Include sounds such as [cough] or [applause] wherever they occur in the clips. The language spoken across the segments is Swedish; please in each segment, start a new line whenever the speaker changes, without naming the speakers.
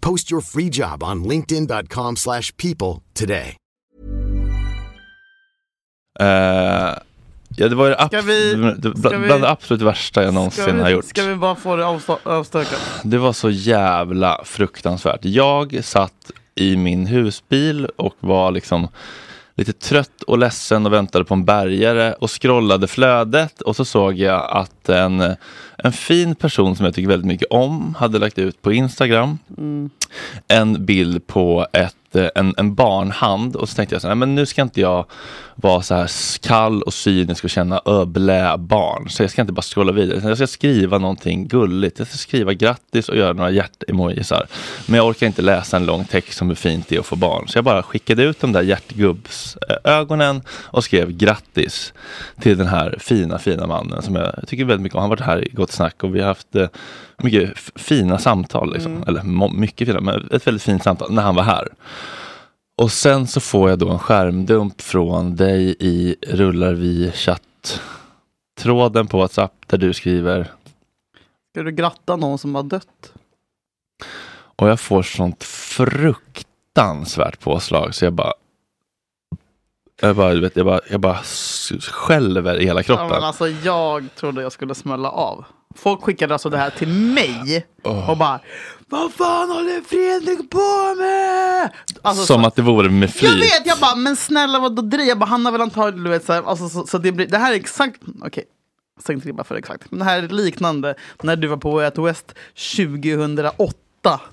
Post your free job on linkedin.com/people slash people today.
Eh, ja, det var ju
Ska
abs-
vi-
det- bla-
ska vi-
bland det absolut värsta jag
Ska
någonsin har
vi,
gjort.
ska vi bara få det avsta- avstökat?
Det var så jävla fruktansvärt. Jag satt i min husbil och var liksom lite trött och ledsen och väntade på en bärgare och scrollade flödet och så såg jag att en, en fin person som jag tycker väldigt mycket om hade lagt ut på Instagram en bild på ett, eh, en, en barnhand och så tänkte jag så här, "Nej, men nu ska inte jag vara så här kall och cynisk och känna öblä barn. Så jag ska inte bara scrolla vidare, utan jag ska skriva någonting gulligt. Jag ska skriva grattis och göra några hjärtemojisar. Men jag orkar inte läsa en lång text om hur fint det är att få barn. Så jag bara skickade ut de där hjärtgubbsögonen och skrev grattis till den här fina, fina mannen som jag tycker väldigt mycket om. Han har varit här i Gott Snack och vi har haft eh, mycket f- fina samtal. Liksom.
Mm.
Eller må- mycket fina, men ett väldigt fint samtal när han var här. Och sen så får jag då en skärmdump från dig i Rullar vi chatt tråden på WhatsApp där du skriver
Ska du gratta någon som har dött?
och jag får sånt fruktansvärt påslag så jag bara jag bara, du vet, jag bara, jag bara s- skälver i hela
Ja, men
kroppen.
alltså, jag trodde jag skulle smälla av. Folk skickade alltså det här till mig och bara Vad fan håller Fredrik på med? Alltså,
Som
så-
att det vore med
Jag
flit.
vet, jag bara, men snälla vadå driv? Jag bara, han har väl antagligen, du vet, så, här, alltså, så, så det blir, det här är exakt, okej, jag ska inte ribba för det exakt, men det här är liknande när du var på Way Out West 2008.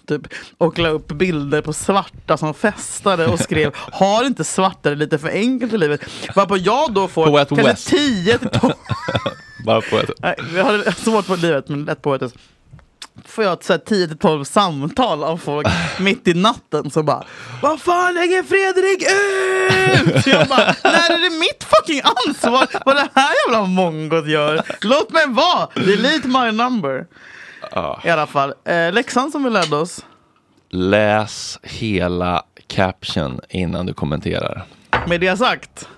Typ, och la upp bilder på svarta som festade och skrev Har inte svartare lite för enkelt i livet? Varpå jag då
På
får
Way Out
kanske
West.
10 till 12
Bara på ett,
Nej, jag har [laughs] svårt på livet men lätt på det. Får jag så här 10 till 12 samtal av folk mitt i natten som bara Vad fan lägger Fredrik ut? Jag bara, när är det mitt fucking ansvar vad det här jävla mongot gör? Låt mig vara! Delete my number. I alla fall, eh, läxan som vi lärde oss
läs hela caption innan du kommenterar.
med det sagt.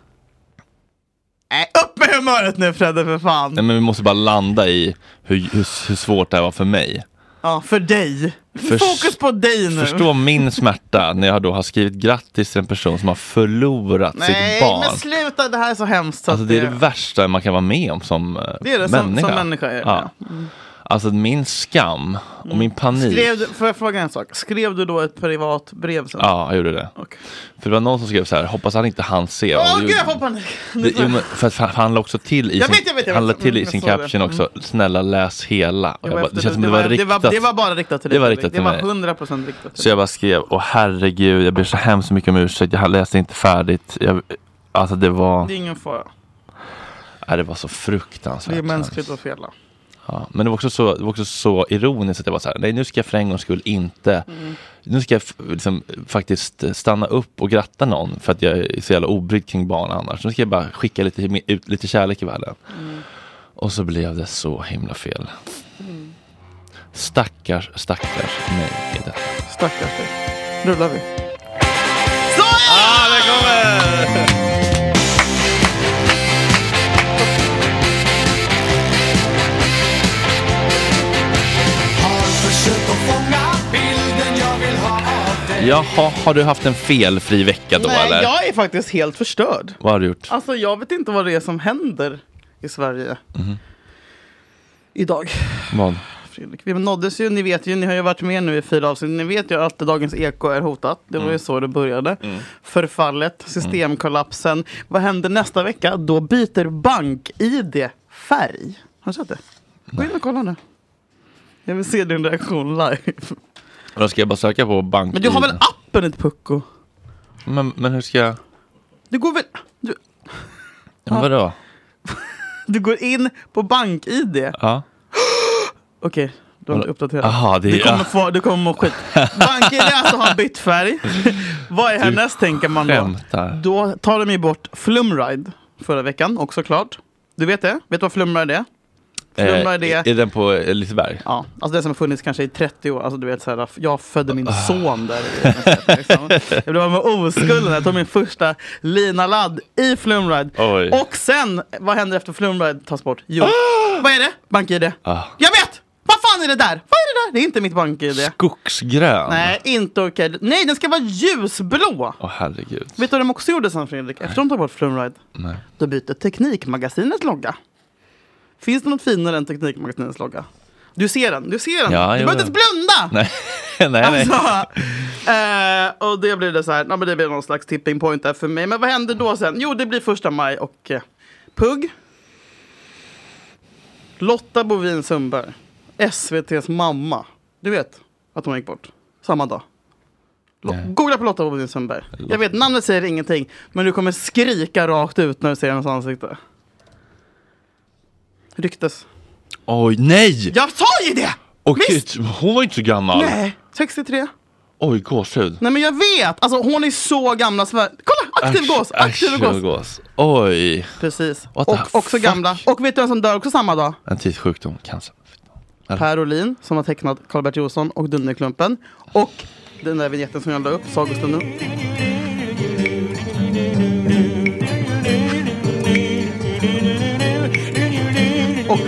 Nej, upp med humöret nu Fredde för fan!
Nej, men vi måste bara landa i hur, hur, hur svårt det här var för mig.
Ja, för dig.
Förs-
Fokus på dig nu.
Förstå min smärta när jag då har skrivit grattis till en person som har förlorat
Nej,
sitt barn.
men sluta, det här är så hemskt. Så
Alltså
att
det är det värsta man kan vara med om som eh,
Det är det som-
människa.
som människa är det, Mm.
Alltså min skam och min panik.
Skrev du, får jag fråga en sak? Skrev du då ett privat brev sen?
Ja, jag gjorde det.
Okej.
För det var någon som skrev så här, hoppas han inte han ser. Och
Åh
det
gud, jag
gjorde-
får panik!
det, jo, men för att han, han la också till i
Jag
sin,
vet, jag vet, jag
han la
vet.
till i
Mm,
sin
jag såg det.
caption också, snälla läs hela. Och
Det
jag
var
bara,
efter-
det känns som det var
det,
riktat.
var, det var bara riktat till dig.
Det var
Fredrik.
riktat
det
till
var
mig.
100% riktat till
Så
dig.
jag bara skrev, åh herregud, jag ber så hemskt mycket om ursäkt, jag läste inte färdigt. Jag, alltså det var...
Det är ingen fara.
Ja, det var så
Det
fruktansvärt.
är mänskligt att
hemskt.
fela.
Ja, men det var, också så, det var också så ironiskt att jag var så här, nej nu ska jag för en gångs skull inte,
Mm.
nu ska jag f- liksom, faktiskt stanna upp och gratta någon för att jag är så jävla obrydd kring barn annars. Nu ska jag bara skicka lite, ut lite kärlek i världen.
Mm.
Och så blev det så himla fel.
Mm.
Stackars, stackars mig är detta.
Stackars dig. Rullar vi.
Jaha, har du haft en felfri vecka då
Nej,
eller?
jag är faktiskt helt förstörd.
Vad har du gjort?
Alltså jag vet inte vad
Mhm.
det är som händer i Sverige. Idag.
Vad?
Fredrik. Vi nåddes ju, ni vet ju, ni har ju varit med nu i fyra avsnitt. Ni vet ju att Dagens Eko är hotat. Det var
Mm.
ju så det började. Förfallet, systemkollapsen. Vad händer nästa vecka? Då byter BankID färg. Har du sett det? Gå in och kolla nu. Jag vill se din reaktion live.
Och Då ska jag bara söka på bank.
Men du har väl appen ett pucko?
men, men hur ska jag?
Du går väl... Du,
Ja, men vadå?
du går in på BankID?
Ja.
Okej, du har inte uppdaterat.
Mm. Aha, det är...
Du kommer,
Ja.
få, du kommer
[laughs]
må skit. Banken är alltså har bytt färg. Vad är härnäst tänker man då?
Skämtar.
Då tar de ju bort Flumride förra veckan också klart. Du vet det? Vet du vad Flumride är?
Eh,
Flumride är...
är den på eh, Liseberg?
Ja, alltså det som har funnits kanske i 30 år. Alltså du vet så här, jag födde
Ah.
min son där. i nästan, Liksom. Jag blev av med oskulden. Jag tog min första linaladd i Flumride.
Oj.
Och sen, vad händer efter Flumride tas bort? Jo, vad är det? BankID.
Ah.
Jag vet! Vad fan är det där? Vad är det där? Det är inte mitt BankID.
Skogsgrön?
Nej, inte okej. Nej, den ska vara ljusblå!
Åh herregud.
Vet du vad de också gjorde sen Fredrik? Efter de tog bort Flumride?
Nej.
Då byter Teknikmagasinets logga. Finns det något finare än Teknikmagasinets logga? Du ser den, du ser den!
Ja,
du
jo,
behöver inte ens
jo.
blunda!
Nej, [laughs] nej. nej.
Alltså, eh, och det blir det så här, ja, men det blir någon slags tipping point där för mig. Men vad händer då sen? Jo, det blir första maj och eh, PUG. Lotta Bovin Sundberg, SVTs mamma. Du vet att hon gick bort samma dag. Lo-
Nej.
Googla på Lotta Bovin Sundberg. Jag vet, namnet säger ingenting, men du kommer skrika rakt ut när du ser hennes ansikte. Ryktes.
Oj, nej!
Jag sa ju det!
Och
visst!
gud, hon var inte så gammal.
Nej, 63.
Oj, gåshud.
Nej men jag vet! Alltså hon är så gamla Sverige. Kolla! Aktiv gås! Aktiv
Aktiv
gås!
gås. Oj.
Precis.
What
Och
the
också
fuck?
gamla. Och vet du vem som dör också samma dag?
En tidssjukdom, cancer.
Per Olin som har tecknat Karl-Bert Jonsson och Dunderklumpen. Och den där vignetten som jag la upp, Sagostunden. Och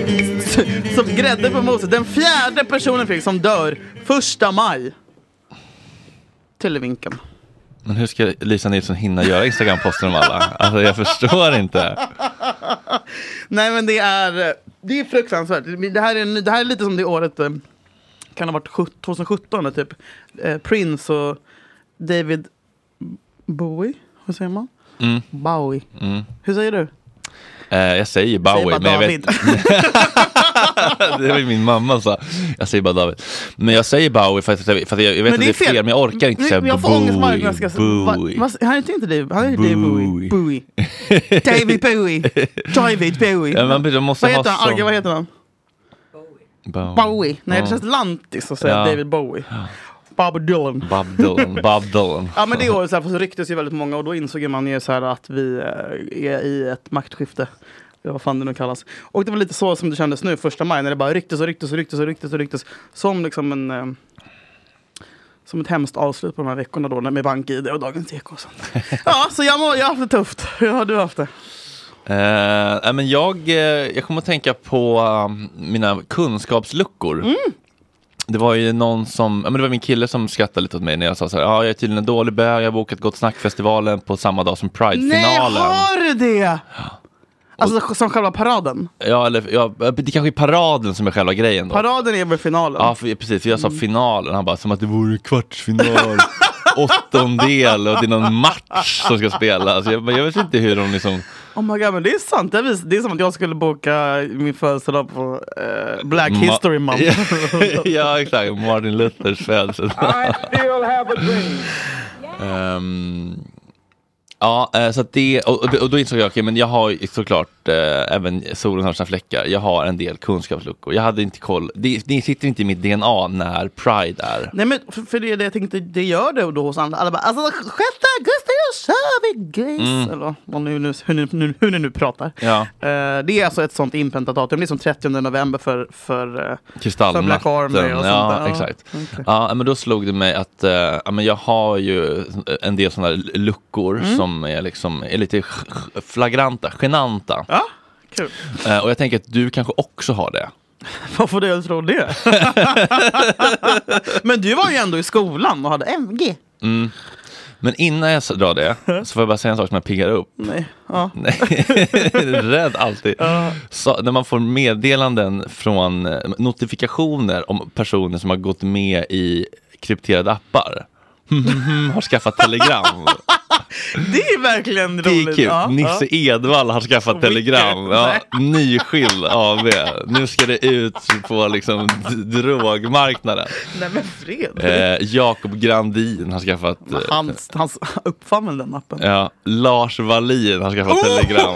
som grädde på moset, den fjärde personen Fredrik som dör första maj. Televinken.
Men hur ska Lisa Nilsson hinna göra Instagram-poster om alla? Alltså jag förstår
[laughs]
inte.
Nej men det är, det är fruktansvärt. Det här är, en ny- det här är lite som det året, eh, kan ha varit sjut- 2017, när typ eh, Prince och David Bowie, hur säger man?
Mm.
Bowie. Hur säger du?
Eh, jag säger Mm. Bowie,
Säger bara
men jag
David.
vet, [laughs] det var ju min mamma sa. Jag säger bara David. Men jag säger Bowie för att, för att jag, jag vet att det är fel, men jag orkar inte
Nu-
säga
Jag får ångest varje gång
Bowie.
jag ska
Bowie.
säga... Han heter inte David, han heter David Bowie.
Bowie. [laughs]
Bowie. David Bowie. David Bowie.
Ja, men man måste
vad heter
ha
han? Arga,
sån-
vad heter han?
Bowie.
Bowie. Nej, det
Ja.
känns lantis att säga
Ja.
David Bowie. Bob Dylan.
Bob Dylan. Bob Dylan.
Ja men det året så, här, för så rycktes ju väldigt många och då insåg ju man ju så här att vi eh, är i ett maktskifte. Eller vad fan det nu kallas. Och det var lite så som det kändes nu första maj när det bara rycktes och rycktes och rycktes och rycktes och rycktes. Som liksom en... eh, Som ett hemskt avslut på de här veckorna då när- med BankID och Dagens Eko och sånt. Ja, så jag, må, jag har haft det tufft. [laughs] Hur har du haft det?
Eh, nej, men jag, eh, jag kommer att tänka på um, mina kunskapsluckor.
Mm.
Det var ju någon som, ja, men det var min kille som skrattade lite åt mig när jag sa så här, ja jag är tydligen en dålig bög, jag har bokat Gott Snack-festivalen på samma dag som Pride-finalen.
Nej, har du det? Alltså som själva paraden.
Ja, eller, ja, det kanske är paraden som är själva grejen då.
Paraden är väl finalen?
Ja, för, precis. För jag
Mm.
sa finalen. Han bara, som att det vore kvartsfinal.
[laughs]
Åttondel och det är någon match som ska spelas. Jag, bara, jag vet inte hur de liksom...
Oh my god, men det är sant. Det är, vis- det är som att jag skulle boka min födelsedag på eh, Black History Month.
[laughs] ja, exakt. Martin Luthers födelse.
I still have a dream.
Ehm, ja, eh, så att det... Och, och- och då insåg jag, okej, men jag har ju såklart, eh, även solen har sina fläckar, jag har en del kunskapsluckor. Jag hade inte koll. Det, det sitter inte i mitt DNA när Pride är.
Nej men för, för det är det jag tänkte, det gör det då hos andra. Alla bara alltså 6 augusti då kör vi gris! Eller vad nu, nu, hur, ni, nu, hur ni nu pratar.
Mm. Ja.
Eh, det är alltså ett sånt inpräntat datum. Det är som 30 november för, för eh, För Black
Kristallnatten.
Army och sånt
ja,
där. Ja,
exakt. Ja, men då slog det mig att eh, ja, men jag har ju en del sådana luckor
Mm.
som är, liksom, är lite sch- flagranta, genanta.
ja, kul.
Eh, och jag tänker att du kanske också har det.
Vad får du att
[laughs]
tro det? men du var ju ändå i skolan och hade MG.
Men innan jag drar
[laughs]
det så får jag bara säga en sak som jag piggar upp.
Nej. Ja.
[laughs] Nej, rädd alltid. Så, när man får meddelanden från eh, notifikationer om personer som har gått med i krypterade appar. [laughs] har skaffat telegram.
Det är verkligen
Det
roligt.
är kul.
Ja,
Nisse Edvall har skaffat
Wicked.
telegram. Ja, nyskild AB. Nu ska det ut på liksom, d- drogmarknaden.
ja. Nej men Fredrik.
Eh, Jakob Grandin har skaffat eh,
Han, han uppfann väl den appen?
Ja, Lars Wallin har skaffat telegram.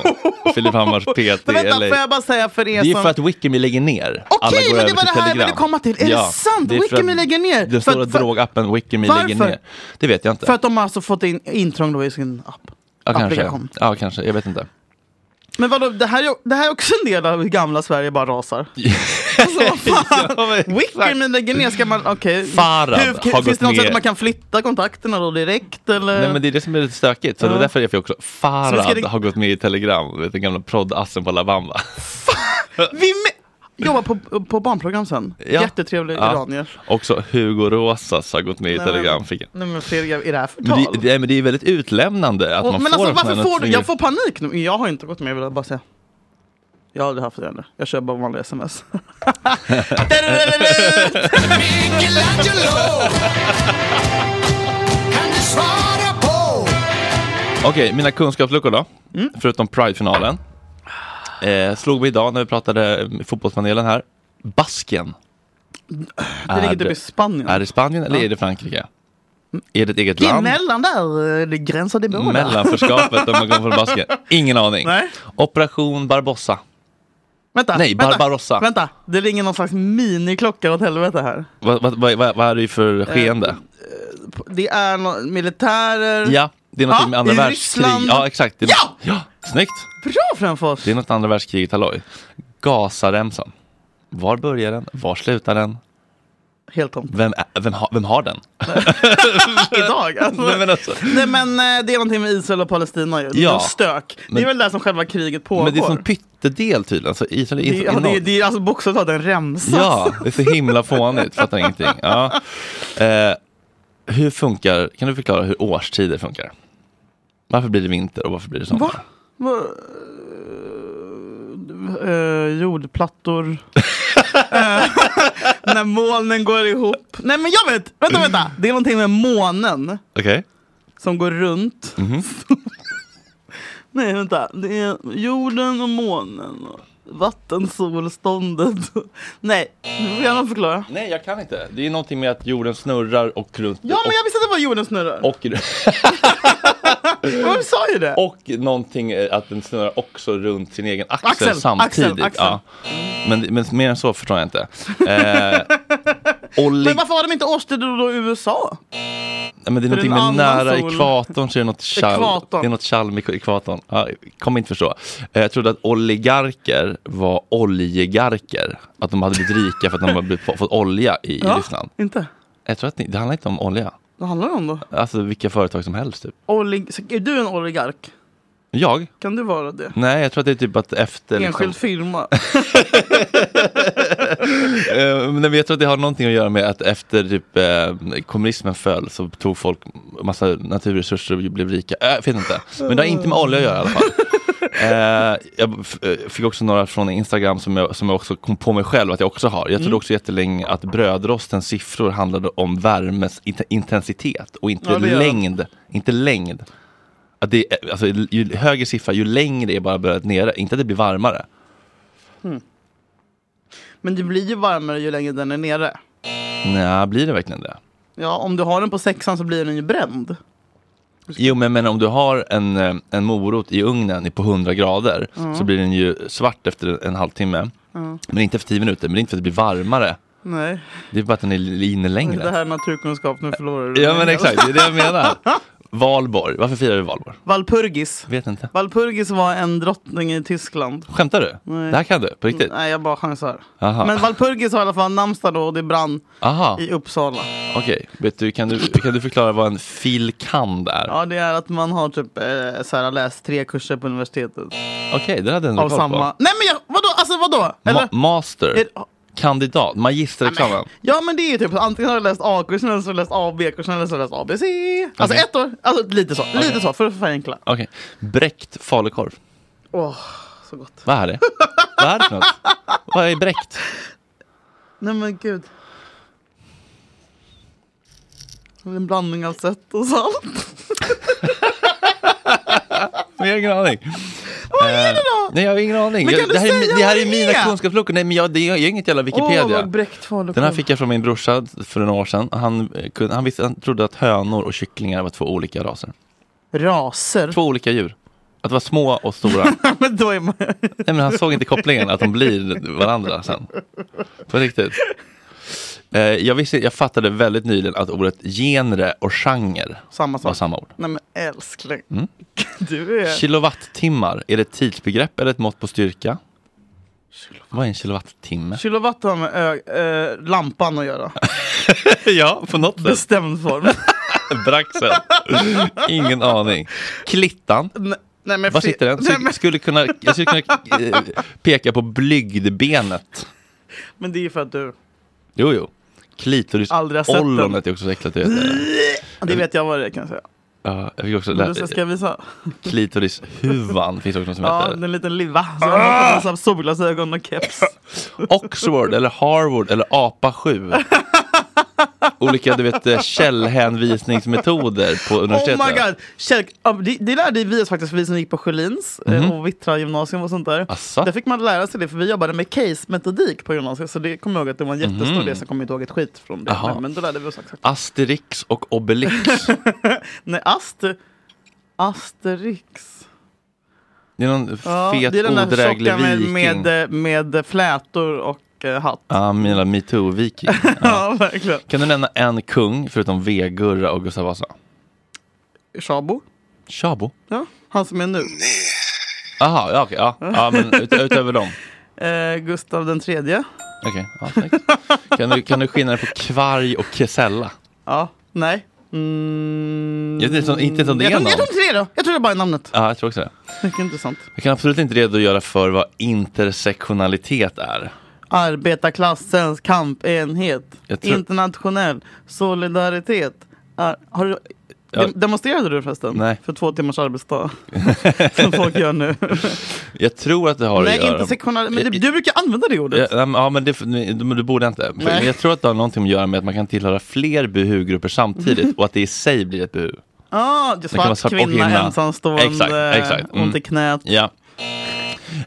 Filip Hammars PT.
Oh! [laughs] Men vänta,
LA.
får jag bara säga för er
Det är
som...
för att Wikimi lägger ner. Alla
Okej,
går
men
över
det var
till
det här jag
Telegram.
ville komma till. Är det sant?
är för
Wikimi
att
lägger ner. För
Den stora
att- för-
drogappen Wikimi
Varför?
lägger ner. Det vet jag inte.
För att de har alltså fått in intrång då i sin app.
ja, kanske.
applikation.
ja, kanske. Jag vet
[laughs]
inte.
Men vadå, det här, är- det här är också en del av hur gamla Sverige
[laughs]
bara rasar. alltså vad fan.
Ja, men [laughs] exakt.
Wikimi lägger ner, ska man... Okej.
Farad
Hur-
har
Finns
gått
det något
med.
sätt man kan flytta kontakterna då direkt? Eller?
Nej, men det är det som är lite stökigt. Så det var därför jag fick också
Så ska
Farad
det-
har gått med i Telegram. Du vet, Den gamla proddassen på La
[laughs]
Bamba.
Vi med... jobbar på, på barnprogram sen.
Ja.
Jättetrevliga
Ja.
iranier.
Också Hugo Rosas har gått med i
Nej, men-
Telegram. Fick jag.
Nej men Fredrik, är det här förtal?
Men det, det, men det är väldigt utlämnande att
Och,
man
men
får
alltså
en sån här
varför får du?
notifiering.
Jag får panik nu. Jag har inte gått med, jag vill bara säga. Jag har aldrig haft det heller. Jag kör bara vanliga sms. [laughs]
Okej, mina kunskapsluckor då.
Mm.
Förutom Pride-finalen. Eh, slog vi idag när vi pratade eh, med fotbollspanelen här. Basken.
det ligger typ i Spanien.
Är Ah, det Ah, Spanien eller är det Frankrike? Är det ett eget
Det är
land?
mellan där, eh, det gränsar till båda.
Mellanförskapet om man kommer från Basken. Ingen aning.
Nej.
Operation Barbossa.
Vänta,
Nej,
vänta,
Barbarossa.
Vänta, det ringer någon slags miniklocka åt helvete här.
Vad vad- vad- vad- vad är det
Eh,
för skeende?
Det är no- militärer.
ja, det är något
Ja,
med andra
i
världskriget.
Ryssland.
Ja, exakt. Det är
Ja!
ja! Snyggt!
Bra Fränfors!
Det är något andra världskriget halloj. Gazaremsan. Var börjar den? Var slutar den?
Helt tomt.
Vem, är- vem, har- vem har den?
[laughs] Idag alltså.
Nej, men alltså.
Nej men eh, det är någonting med Israel och Palestina ju. Det
Ja.
är stök. det
Men-
är väl där som själva kriget pågår.
Men det är en sån pyttedel tydligen. Så Israel är
det, är-
inte
ja, det, är-
enormt.
det är alltså bokstavligt talat en
[laughs]
remsa.
Ja, det är så himla fånigt. Fattar ingenting. Ja. Eh, hur funkar, kan du förklara hur årstider funkar? Varför blir det vinter och varför blir det sommar?
Va? Va? Eh, jordplattor.
[laughs]
Eh, [laughs] när molnen går ihop. Nej men jag vet! Vänta, vänta! Det är någonting med månen
Okej.
som går runt.
Mhm.
[laughs] Nej vänta, det är jorden och månen. och Vattensolståndet. [laughs] Nej, nu får gärna förklara.
Nej, jag kan inte. Det är någonting med att jorden snurrar och runt.
Ja men jag visste att det var jorden snurrar.
och,
Vem sa ju det?
och, och någonting eh, att den snurrar också runt sin egen axel,
Axel,
samtidigt.
axel, axel.
Ja. Men, men mer än så förstår jag inte. Eh, [laughs] oli-
Men varför har de inte årstider då i USA?
Ja, men det är
För
någonting
en
med
annan
nära
sol.
ekvatorn så är det något tjall.
Ekvatorn.
Det är något tjall med ekvatorn. Ja, kommer inte förstå. Eh, Jag trodde att oligarker var oljegarker. Att de hade blivit rika för att de hade blivit, fått olja i i Ryssland.
inte.
Jag tror att det, det handlar inte om olja.
Vad handlar det om då?
Alltså vilka företag som helst typ.
Olig så är du en oligark?
Jag?
Kan du vara det?
Nej, jag tror att det är typ att efter... [laughs]
Enskild firma?
Eh, men jag tror att det har någonting att göra med att efter typ, eh, kommunismen föll så tog folk massa naturresurser och blev rika. Äh, vet inte. Men det har inte med olja att göra i alla
[laughs]
fall. Eh, jag f- eh, fick också några från Instagram som jag, som jag också kom på mig själv att jag också har. Jag
Mm.
trodde också jättelänge att brödrostens siffror handlade om värmes int- intensitet och inte
Ja, det gör de.
längd. Inte längd. Att det, är- alltså, ju högre siffra, ju längre är bara brödet nere. Inte att det blir varmare.
Men det blir ju varmare ju längre den är nere.
Nej, blir det verkligen det?
Ja, om du har den på sexan så blir den ju bränd.
Jo men, men om du har en, eh, en morot i ugnen i- på 100 grader
Mm.
så blir den ju svart efter en halvtimme. Men inte efter 10 minuter, men det är inte för att det blir varmare.
Nej,
Det är bara att den är li- inne
det
längre.
här är naturkunskap. Nu förlorar du.
Ja men exakt, det är det jag
[laughs]
menar. Valborg, varför firar vi Valborg?
Valpurgis.
Vet inte.
Valpurgis var en drottning i Tyskland.
Skämtar du? Det här kan du, på riktigt?
Nej, jag bara chansar.
Aha.
Men Valpurgis har i alla fall namnsdag då och det brann
Aha,
i Uppsala.
okej. Vet du, kan du, kan du förklara vad en filkand är?
Ja, det är att man har typ eh, så här, läst tre kurser på universitetet.
Okej, det hade jag ändå
Av
koll
samma...
på.
Nej men jag, vadå? Alltså vadå? Eller?
Ma- master.
Är-
kandidat, magisterexamen.
Ja men det är ju typ antingen har du läst A-kursen eller så har du läst AB kursen eller så har du läst ABC. Alltså
Okej.
ett år, alltså lite så, lite så för att förenkla.
Okej. Bräckt falukorv.
Åh, så gott.
Vad är det? Vad är det för något? Vad är bräckt?
Nej men gud. En blandning av sött och salt. [laughs]
Jag har ingen aning. Vad är det då? Nej, jag har ingen aning.
Men kan
Jag-
du
det, här är,
säga
mi- det här
vad
är
det
mina
är?
kunskapsluckor. Nej, men jag, det är, jag är inget jävla
Åh,
Wikipedia.
vad bräckt falukorv.
Den här fick jag från min brorsa för några år sedan. Han, eh, kunde- han, visste, han trodde att hönor och kycklingar var två olika raser. [laughs]
Raser.
Två olika djur. Att de var små och
[laughs]
stora.
Ja, men då är man...
Nej, men han såg inte kopplingen att de blir varandra sen. På riktigt. Eh, jag, visste, jag fattade väldigt nyligen att ordet genre och genre
Samma sak.
var samma ord.
Nej men älskling. [laughs] Du är...
Kilowattimmar, är det ett tidsbegrepp eller ett mått på styrka? Vad är en
[laughs]
kilowattimme?
Kilowatt har med ö- eh, lampan att göra.
ja, på något sätt.
Bestämd form.
Braxen. Ingen aning. Klittan.
Nej, nej, men
Var
fri-
sitter den?
Nej, men,
Skulle- Skulle kunna, jag skulle kunna eh, peka på blygdbenet.
men det är ju för att du...
Jo, jo. Klitoris.
Aldrig har sett den.
Ollonet är också så äckligt. Jag, vet.
Det vet jag vad det är kan jag säga.
Ja, jag fick också
Men
lära,
du ska- ska jag visa?
klitorishuvan. Finns också något som
Ja,
heter.
den är en liten liva. Så ah! har solglasögon och keps.
Oxford eller Harvard eller APA 7. Olika du vet, eh, källhänvisningsmetoder på universitetet.
Oh my god! Kärlek, ja, det, det lärde vi oss faktiskt, vi som gick på Sjölins eh, och Vittra gymnasium och sånt där.
Mhm. Asså?
Där fick man lära sig det, för vi jobbade med case-metodik på gymnasiet. Så det kommer jag ihåg att det var en jättestor del, sen kommer jag inte ihåg ett skit från det.
Mhm. Jaha.
Men, men då lärde vi oss exakt.
Asterix och Obelix.
Nej, aster... Asterix.
Det är någon
Ja,
fet
det är den där
odräglig
tjocka med,
viking.
med, eh, med flätor och eh, hatt.
Ja, ah, mina metoo-viking. Ja.
[laughs] Ja, verkligen.
Kan du nämna en kung förutom V-Gurra och Gustav Vasa?
Shabo.
Tjabo?
Ja, han som är nu.
Aha, ja, okej. ja. ja, men ut, utöver dem.
Eh, Gustav den tredje.
Okej, ja, tack. kan, du, kan du skilja dig på kvarg och kesella?
Ja, nej. Mm.
Jag vet inte om- inte som det
jag
är
tror, jag
någon.
tror inte det är då. Jag tror det bara är namnet.
Ja, jag tror också det.
Mycket intressant.
Jag kan absolut inte redogöra för vad intersektionalitet är.
Arbetarklassens kampenhet.
Jag tror-
Internationell solidaritet. Ar- har du...
Ja.
Dem- Demonstrerade du förresten?
Nej.
För två
[laughs]
timmars arbetsdag. Som folk gör nu.
Jag tror att det har att
Nej,
göra...
intersektionell. Men du, du brukar använda det ordet.
Ja, nej, men- ja, men det, men du borde inte. För
Nej.
Jag tror att det har någonting att göra med att man kan tillhöra fler buhu-grupper
[laughs]
samtidigt och att det i sig blir ett buhu.
Ah, svart,
vara svart och
kvinna,
kvinna.
ensamstående,
Exakt, exakt. Mm.
ont i knät.
Ja.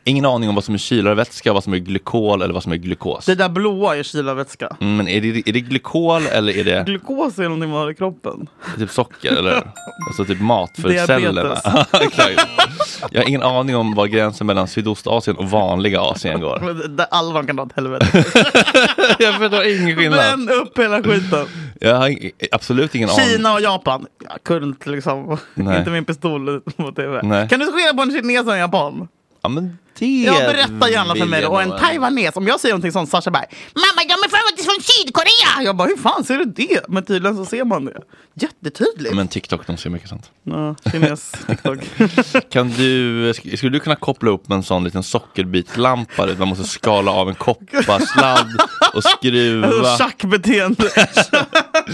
Ingen aning om vad som är kylarvätska, vad som är glykol eller vad som är glukos.
Det där blåa är kylarvätska.
Mm, Men är det, är det glykol eller är det
Glukos är någonting man har i kroppen. [laughs]
typ socker? Eller? Alltså typ mat för [laughs]
Diabetes.
cellerna. Exakt. Jag har ingen aning om var gränsen mellan Sydostasien och vanliga Asien
[laughs]
går.
Men det- det- Alla de kan dra åt helvete.
Jag förstår ingen [laughs] skillnad.
Bränn upp hela skiten.
Jag har ing- absolut ingen aning.
Kina och Japan. Jag kunde inte liksom.
Nej.
Inte min pistol på tv.
Nej.
Kan du skilja på en kines och en japan?
Ja, men det
Ja, berätta gärna för
vill
mig.
jag
då. Och en
nog-
taiwanes. Om jag säger någonting sånt, Sasha bara Mamma, de är faktiskt från Sydkorea! Jag bara, hur fan ser du det? Men tydligen så ser man det. Jättetydligt.
Men TikTok, de ser mycket sånt.
Ja, kines,
[laughs]
TikTok.
Kan du, sk- skulle du kunna koppla upp en sån liten sockerbitslampa? du vet, Man måste skala av en kopparsladd och skruva.
Alltså schackbeteende.